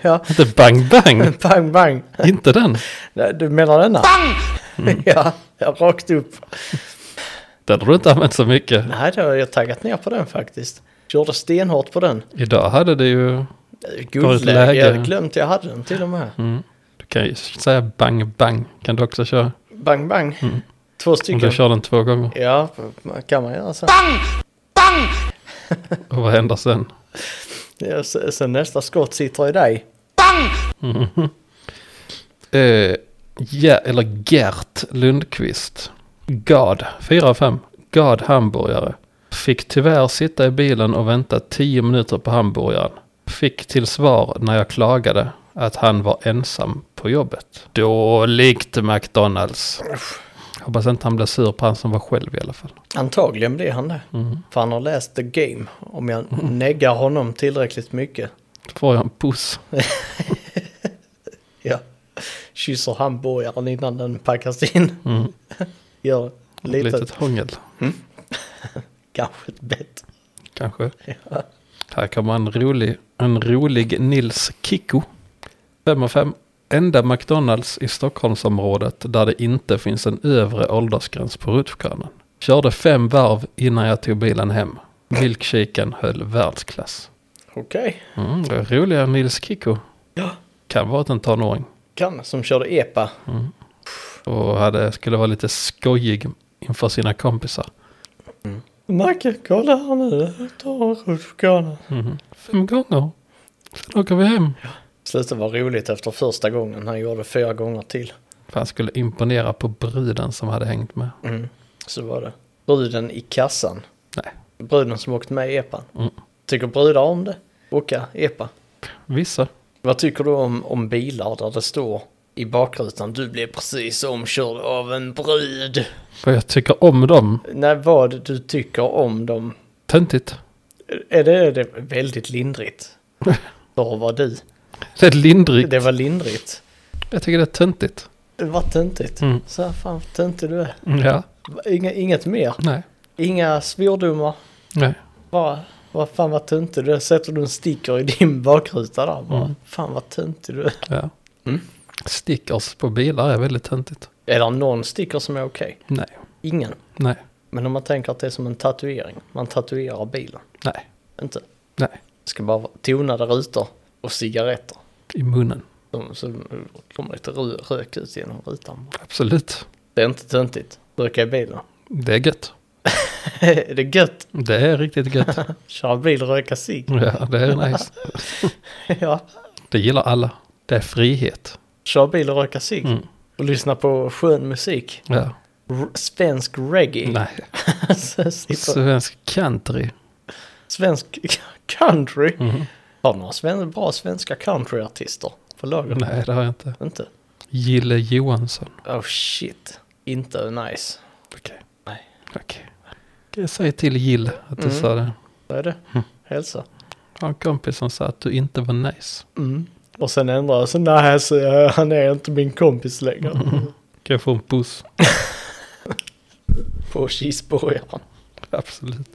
Speaker 2: ja,
Speaker 1: Inte bang bang,
Speaker 2: bang bang.
Speaker 1: inte den.
Speaker 2: Nej, Du menar denna? Bang! Ja, ja, rakt upp.
Speaker 1: Den har du inte använt så mycket.
Speaker 2: Nej, då har jag taggat ner på den faktiskt. Körde stenhårt på den.
Speaker 1: Idag hade det ju
Speaker 2: Guldläge,
Speaker 1: läge.
Speaker 2: jag hade glömt jag hade den till och med.
Speaker 1: Mm. Du kan ju säga bang bang. Kan du också köra?
Speaker 2: Bang bang. Två
Speaker 1: Mm. Om
Speaker 2: stycken.
Speaker 1: du kör den två gånger.
Speaker 2: Ja, kan man göra så.
Speaker 1: Och vad händer sen?
Speaker 2: Ja, så- Sen nästa skott sitter i dig.
Speaker 1: Eh, ja, eller Gert Lundqvist. Gad, 4 av 5. Gad hamburgare. Fick tyvärr sitta i bilen och vänta 10 minuter på hamburgaren. Fick till svar när jag klagade att han var ensam på jobbet. Dåligt McDonalds. Hoppas inte han blir sur på han som var själv i alla fall.
Speaker 2: Antagligen blir han det.
Speaker 1: Mm.
Speaker 2: För han har läst The Game. Om jag neggar honom tillräckligt mycket.
Speaker 1: Då får jag en puss.
Speaker 2: Ja. Kysser hamburgaren innan den packas in.
Speaker 1: Mm.
Speaker 2: Gör
Speaker 1: Litet,
Speaker 2: lite,
Speaker 1: hångel.
Speaker 2: kanske ett bett.
Speaker 1: Kanske. Här kommer en rolig, en rolig Nils Kikko. 5 av 5. Enda McDonalds i Stockholmsområdet där det inte finns en övre åldersgräns på rutschkanan. Körde fem varv innan jag tog bilen hem. Milkshaken höll världsklass.
Speaker 2: Okej.
Speaker 1: Mm, det är roliga Nils Kikko.
Speaker 2: Ja.
Speaker 1: Kan vara att en tonåring.
Speaker 2: Kan som körde EPA.
Speaker 1: Och hade, skulle vara lite skojig inför sina kompisar.
Speaker 2: Macke, kolla här nu. Jag tar rutschkanan.
Speaker 1: Fem gånger. Sen åker vi hem.
Speaker 2: Slutade vara roligt efter första gången. Han gjorde fyra gånger till.
Speaker 1: För han skulle imponera på bruden som hade hängt med.
Speaker 2: Så var det. Bruden i kassan.
Speaker 1: Nej.
Speaker 2: Bruden som åkt med i EPAn.
Speaker 1: Mm.
Speaker 2: Tycker brudar om det? Åka EPA?
Speaker 1: Vissa.
Speaker 2: Vad tycker du om, om bilar där det står i bakrutan du blev precis omkörd av en brud?
Speaker 1: Vad jag tycker om dem.
Speaker 2: Nej, vad du tycker om dem?
Speaker 1: Töntigt.
Speaker 2: Är det, är det väldigt lindrigt? Då var du.
Speaker 1: Det är lindrigt.
Speaker 2: Det var lindrigt.
Speaker 1: Jag tycker det är töntigt.
Speaker 2: Det var töntigt.
Speaker 1: Mm.
Speaker 2: Så här, fan vad töntig du är.
Speaker 1: Ja.
Speaker 2: Inga, inget mer.
Speaker 1: Nej.
Speaker 2: Inga svordomar.
Speaker 1: Nej.
Speaker 2: Bara, vad fan vad töntig du är. Sätter du en sticker i din bakruta där bara. Fan vad töntig du är.
Speaker 1: Ja. Stickers på bilar är väldigt töntigt.
Speaker 2: Är det någon sticker som är okej?
Speaker 1: Nej.
Speaker 2: Ingen.
Speaker 1: Nej.
Speaker 2: Men om man tänker att det är som en tatuering. Man tatuerar bilen.
Speaker 1: Nej.
Speaker 2: Inte?
Speaker 1: Nej.
Speaker 2: ska bara vara tonade rutor och cigaretter.
Speaker 1: I munnen.
Speaker 2: Så, så kommer lite rö- rök ut genom rutan.
Speaker 1: Absolut.
Speaker 2: Det är inte töntigt. Röka i bilen.
Speaker 1: Det är gött.
Speaker 2: det är gött.
Speaker 1: Det är riktigt gött.
Speaker 2: Köra bil och röka cigg.
Speaker 1: ja, det är nice.
Speaker 2: ja.
Speaker 1: Det gillar alla. Det är frihet.
Speaker 2: Köra bil och röka cigg.
Speaker 1: Mm.
Speaker 2: Och lyssna på skön musik.
Speaker 1: Ja.
Speaker 2: R- svensk reggae.
Speaker 1: Nej.
Speaker 2: Alltså, sitta-
Speaker 1: Svensk country.
Speaker 2: svensk country.
Speaker 1: Mhm.
Speaker 2: Har du några sven- bra svenska countryartister på lager?
Speaker 1: Nej, det har jag inte.
Speaker 2: Inte?
Speaker 1: Gille Johansson.
Speaker 2: Oh shit. Inte nice.
Speaker 1: Okej.
Speaker 2: Nej.
Speaker 1: Okej. Kan jag säga till Jill att du
Speaker 2: Mm.
Speaker 1: sa det?
Speaker 2: Vad är det? Hälsa.
Speaker 1: Jag har en kompis som sa att du inte var nice.
Speaker 2: Och sen ändrar jag sig. Nej, så, eh, han är inte min kompis längre.
Speaker 1: Kan jag få en puss?
Speaker 2: På cheeseburgaren.
Speaker 1: Absolut.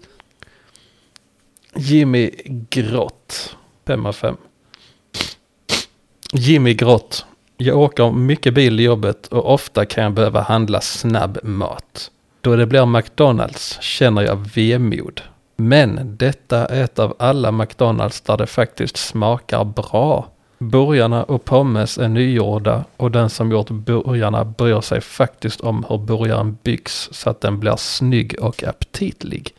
Speaker 1: Jimmy Grott. 5 av 5. Jimmy Grott. Jag åker mycket bil i jobbet och ofta kan jag behöva handla snabb mat. Då det blir McDonalds känner jag vemod. Men detta är ett av alla McDonalds där det faktiskt smakar bra. Burgarna och pommes är nygjorda och den som gjort burgarna bryr sig faktiskt om hur burgaren byggs så att den blir snygg och aptitlig.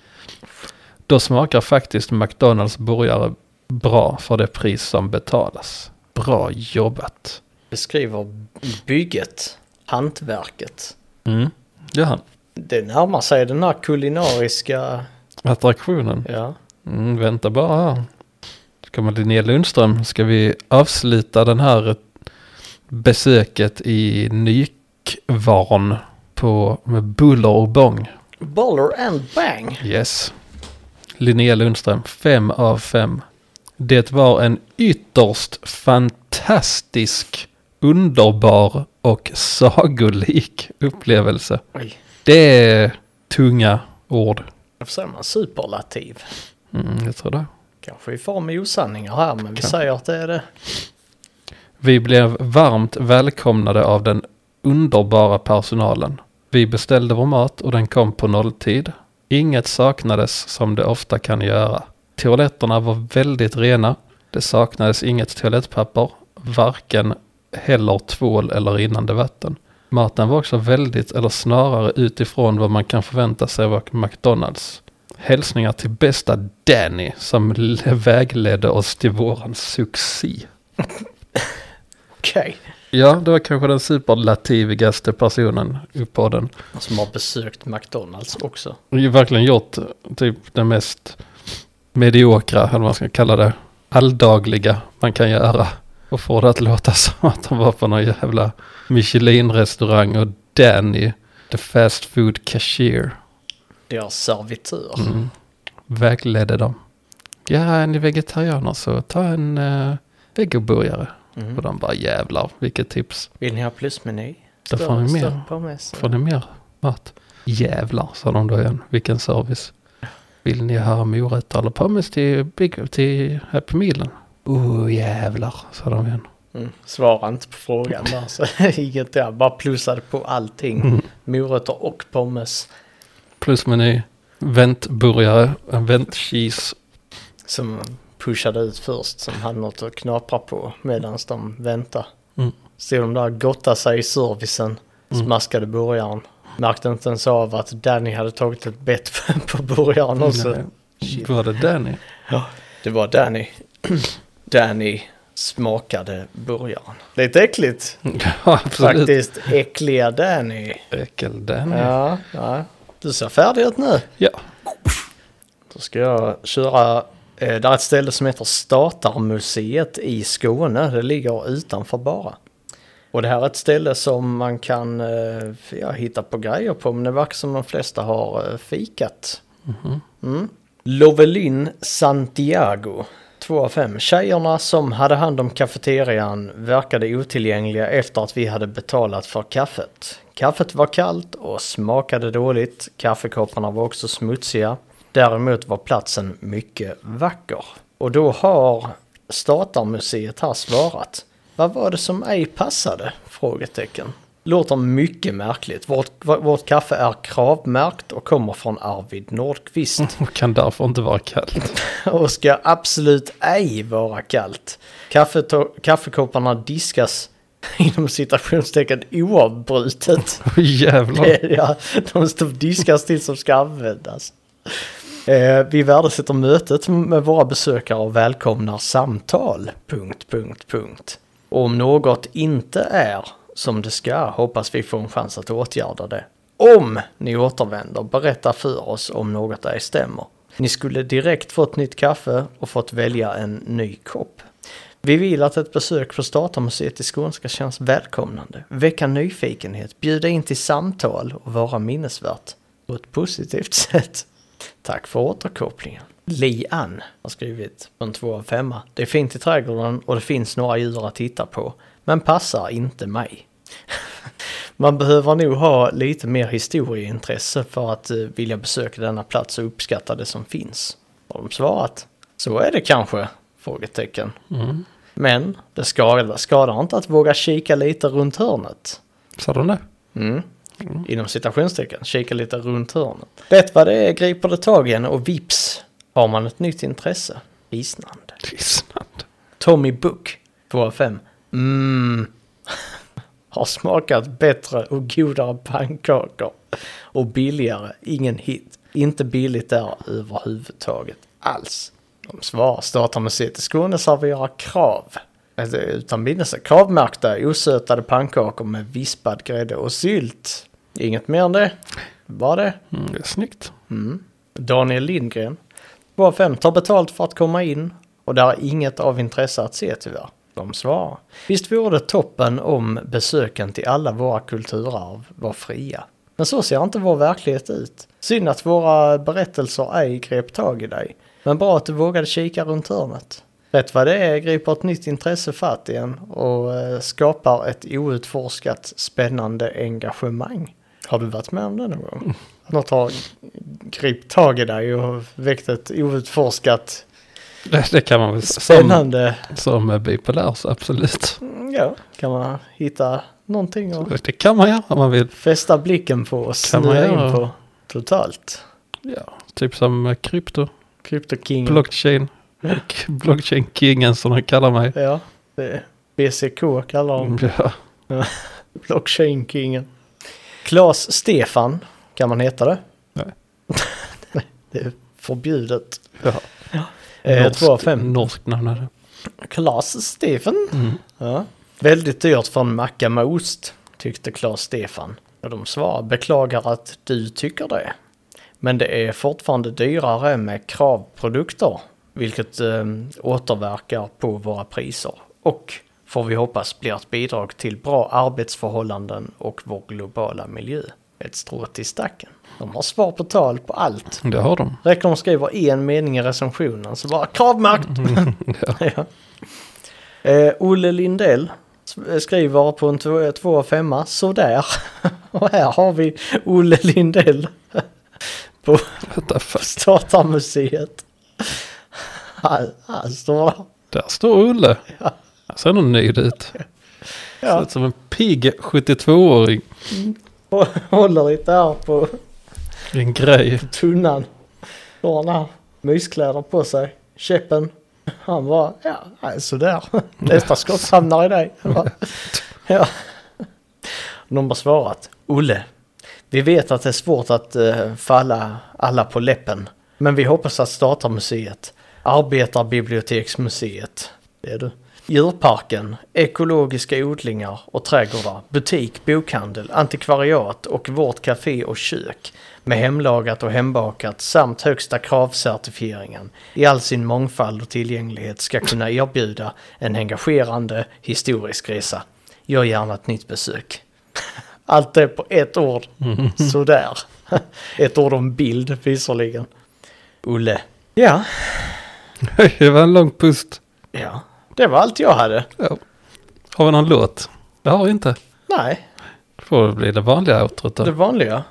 Speaker 1: Då smakar faktiskt McDonalds burgare bra för det pris som betalas. Bra jobbat.
Speaker 2: Beskriver bygget. Hantverket.
Speaker 1: Mm, gör han.
Speaker 2: Det närmar sig den här kulinariska...
Speaker 1: Attraktionen.
Speaker 2: Ja.
Speaker 1: Mm, vänta bara här. Så kommer Linnea Lundström. Ska vi avsluta den här besöket i Nykvarn på, med buller och bång?
Speaker 2: Baller and bang.
Speaker 1: Yes. Linnea Lundström, 5 av 5. Det var en ytterst fantastisk, underbar och sagolik upplevelse.
Speaker 2: Oj.
Speaker 1: Det är tunga ord.
Speaker 2: Varför säger man superlativ?
Speaker 1: Mm, jag tror det.
Speaker 2: Kanske vi far med osanningar här, men vi
Speaker 1: Kanske.
Speaker 2: säger att det är det.
Speaker 1: Vi blev varmt välkomnade av den underbara personalen. Vi beställde vår mat och den kom på nolltid. Inget saknades som det ofta kan göra. Toaletterna var väldigt rena. Det saknades inget toalettpapper, varken heller tvål eller rinnande vatten. Maten var också väldigt, eller snarare utifrån vad man kan förvänta sig av McDonalds. Hälsningar till bästa Danny som le- vägledde oss till våran succé.
Speaker 2: Okej.
Speaker 1: Ja, det var kanske den superlativigaste personen i podden.
Speaker 2: Som har besökt McDonalds också.
Speaker 1: Och ju verkligen gjort typ den mest mediokra, eller vad man ska kalla det, alldagliga man kan göra. Och få det att låta som att de var på någon jävla Michelin-restaurang och Danny, the fast food cashier, mm,
Speaker 2: Deras servitör.
Speaker 1: vägledde dem. Ja, är ni vegetarianer så ta en uh, vegoburgare.
Speaker 2: Mm.
Speaker 1: Och de bara jävlar, vilket tips.
Speaker 2: Vill ni ha plusmeny?
Speaker 1: Då får ni mer.
Speaker 2: på mig, så.
Speaker 1: Får ni mer mat? Jävlar, sa de då igen. Vilken service. Vill ni ha morötter eller pommes till, big, till Happy Mealen? Oh jävlar, sa de igen.
Speaker 2: Mm. Svara inte på frågan bara. Så, inget där, bara plussade på allting.
Speaker 1: Mm.
Speaker 2: Morötter och pommes.
Speaker 1: Plusmeny, väntburgare, en väntcheese.
Speaker 2: Som pushade ut först. Som hade något att knapra på medan de väntade.
Speaker 1: Mm.
Speaker 2: Stod de där och gottade sig i servicen. Smaskade burgaren. Märkte inte ens av att Danny hade tagit ett bett på burgaren också.
Speaker 1: Mm. Nej, Var det Danny?
Speaker 2: Ja, det var Danny. Danny smakade burgaren. Lite äckligt.
Speaker 1: Ja, absolut.
Speaker 2: Mm.
Speaker 1: Mm.
Speaker 2: Faktiskt äckliga Danny.
Speaker 1: Äckel-Danny. Ja.
Speaker 2: Ja, ja. Du ser färdig ut nu.
Speaker 1: ja,
Speaker 2: Då ska jag köra. Eh, där är ett ställe som heter Statarmuseet i Skåne. Det ligger utanför bara. Och det här är ett ställe som man kan eh, ja, hitta på grejer på. Men det verkar som de flesta har eh, fikat. Mm. Lovelin Santiago. 2 av 5. Tjejerna som hade hand om kafeterian verkade otillgängliga efter att vi hade betalat för kaffet. Kaffet var kallt och smakade dåligt. Kaffekopparna var också smutsiga. Däremot var platsen mycket vacker. Och då har Statarmuseet här svarat. Vad var det som ej passade? Frågetecken. Låter mycket märkligt. Vårt, vårt kaffe är kravmärkt och kommer från Arvid Nordqvist.
Speaker 1: Och kan därför inte vara kallt.
Speaker 2: och ska absolut ej vara kallt. Kaffeto- kaffekopparna diskas inom citationstecken oavbrutet.
Speaker 1: Oj, Jävlar.
Speaker 2: ja, de står- diskas tills de ska användas. Eh, vi värdesätter mötet med våra besökare och välkomnar samtal. Punkt, punkt, punkt. Om något inte är som det ska hoppas vi får en chans att åtgärda det. Om ni återvänder, berätta för oss om något ej stämmer. Ni skulle direkt fått nytt kaffe och fått välja en ny kopp. Vi vill att ett besök på Statarmuseet i Skåne ska kännas välkomnande, väcka nyfikenhet, bjuda in till samtal och vara minnesvärt på ett positivt sätt. Tack för återkopplingen. Li-Ann har skrivit på en två av femma. Det är fint i trädgården och det finns några djur att titta på, men passar inte mig. Man behöver nog ha lite mer historieintresse för att eh, vilja besöka denna plats och uppskatta det som finns. Har de svarat? Så är det kanske? Frågetecken.
Speaker 1: Mm.
Speaker 2: Men det skadar, skadar inte att våga kika lite runt hörnet.
Speaker 1: Sa de det?
Speaker 2: Mm. Inom citationstecken, kika lite runt hörnet. Det vad det är griper det tag i en och vips har man ett nytt intresse. Hisnande.
Speaker 1: Tystnad.
Speaker 2: Tommy Book, 2 av 5. Mm. Har smakat bättre och godare pannkakor. Och billigare, ingen hit. Inte billigt där överhuvudtaget alls. De svarar Statarmuseet i Skåne serverar krav. Alltså, Utan bindelse. Kravmärkta osötade pannkakor med vispad grädde och sylt. Inget mer än det. Bara det.
Speaker 1: Mm, det är snyggt.
Speaker 2: Daniel Lindgren. 2 av 5 tar betalt för att komma in och där är inget av intresse att se tyvärr. De svarar. Visst vore det toppen om besöken till alla våra kulturarv var fria. Men så ser inte vår verklighet ut. Synd att våra berättelser ej grep tag i dig. Men bra att du vågade kika runt hörnet. Rätt vad det är griper ett nytt intresse fatt igen och eh, skapar ett outforskat spännande engagemang. Har du varit med om det någon gång? Att något har gript tag i dig och väckt ett outforskat
Speaker 1: Det, det kan man väl som,
Speaker 2: spännande...
Speaker 1: som är bipolär, så absolut.
Speaker 2: Ja, kan man hitta någonting och
Speaker 1: Det kan man göra om man vill.
Speaker 2: fästa blicken på och
Speaker 1: Kan man
Speaker 2: snöa in
Speaker 1: göra.
Speaker 2: på totalt.
Speaker 1: Ja, typ som eh, krypto,
Speaker 2: Mm. CryptoKing.
Speaker 1: blockchain och blockchain-kingen som de kallar mig. Mm,
Speaker 2: Ja, det är BCK kallar de
Speaker 1: Ja,
Speaker 2: blockchain-kingen. Klas Stefan, kan man heta det?
Speaker 1: Nej.
Speaker 2: det är förbjudet.
Speaker 1: ja.
Speaker 2: Eh,
Speaker 1: Norskt-
Speaker 2: 2 av 5.
Speaker 1: Norskt namn är det. Mm,
Speaker 2: Klas Stefan. Ja. Väldigt dyrt för en macka med ost, tyckte Klas Stefan. Och de svarar beklagar att du tycker det. Men det är fortfarande dyrare med kravprodukter, vilket eh, återverkar på våra priser. Och får vi hoppas blir ett bidrag till bra arbetsförhållanden och vår globala miljö. Ett strå till stacken. De har svar på tal på allt.
Speaker 1: Det har de.
Speaker 2: Räcker de skriver en mening i recensionen så bara kravmärkt!
Speaker 1: Ja.
Speaker 2: ja. eh, Olle Lindell s- skriver på en 2 av 5 sådär. Och här har vi Olle Lindell på
Speaker 1: What the fuck?
Speaker 2: Statarmuseet. alltså, Han, han står där.
Speaker 1: Där står Olle. Han ser nog nöjd ut. Ser
Speaker 2: Ja,
Speaker 1: ut som en pigg 72-åring.
Speaker 2: och håller lite här på
Speaker 1: Det är en grej.
Speaker 2: tunnan. Då har han här myskläder på sig. Käppen. Han bara, ja, nej, sådär. Nästa skott hamnar i dig. Jag bara, Ja. Någon har svarat. Olle, vi vet att det är svårt att eh, falla alla på läppen. Men vi hoppas att Statarmuseet, Arbetarbiblioteksmuseet, det är du. Djurparken, ekologiska odlingar och trädgårdar, butik, bokhandel, antikvariat och vårt café och kök med hemlagat och hembakat samt högsta kravcertifieringen i all sin mångfald och tillgänglighet ska kunna erbjuda en engagerande historisk resa. Gör gärna ett nytt besök. Allt det på ett ord.
Speaker 1: Mm.
Speaker 2: Sådär. Ett ord om bild visserligen. Olle. Ja.
Speaker 1: Det var en lång pust.
Speaker 2: Ja. Det var allt jag hade.
Speaker 1: Ja. Har vi någon låt? Det har vi inte.
Speaker 2: Nej,
Speaker 1: Då får det bli det vanliga outrot
Speaker 2: det
Speaker 1: då.
Speaker 2: vanliga.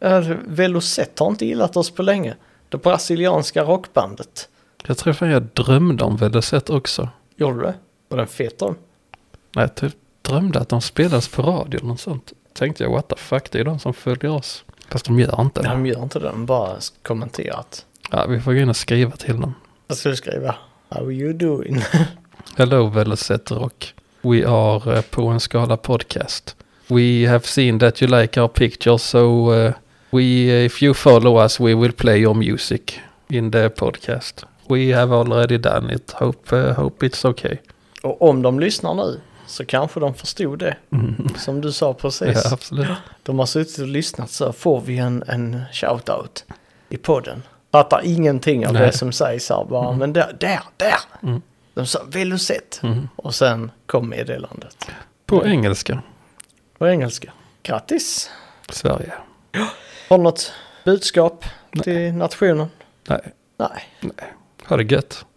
Speaker 2: Eh, Velocet har inte gillat oss på länge. Det brasilianska rockbandet.
Speaker 1: Jag tror fan jag drömde om Velocet också.
Speaker 2: Gjorde du det? Var den fet då?
Speaker 1: Nej, jag typ drömde att de spelades på radio eller något sånt. Tänkte jag, what the fuck, det är de som följer oss. Fast de gör inte
Speaker 2: Nej,
Speaker 1: det.
Speaker 2: de gör inte det, de bara kommenterat.
Speaker 1: Ja, vi får gå in och skriva till dem.
Speaker 2: Jag skulle skriva How you doing?
Speaker 1: Hello Velocetr och we are eh, på en skala podcast. We have seen that you like our pictures so eh, we eh, if you follow us we will play your music in the podcast. We have already done it. Hope, eh, hope it's okay.
Speaker 2: Och om de lyssnar nu så kanske de förstod det som du sa precis.
Speaker 1: Ja, absolut.
Speaker 2: De har suttit och lyssnat så får vi en, en shout-out i podden. Fattar ingenting av
Speaker 1: Nej.
Speaker 2: det som sägs här bara, men där, där, där!
Speaker 1: Mm.
Speaker 2: De sa Velocet.
Speaker 1: Mm.
Speaker 2: Och sen kom meddelandet.
Speaker 1: På engelska.
Speaker 2: På engelska. Grattis!
Speaker 1: Sverige.
Speaker 2: Har du något budskap till nationen?
Speaker 1: Nej,
Speaker 2: Nej.
Speaker 1: ha det gött.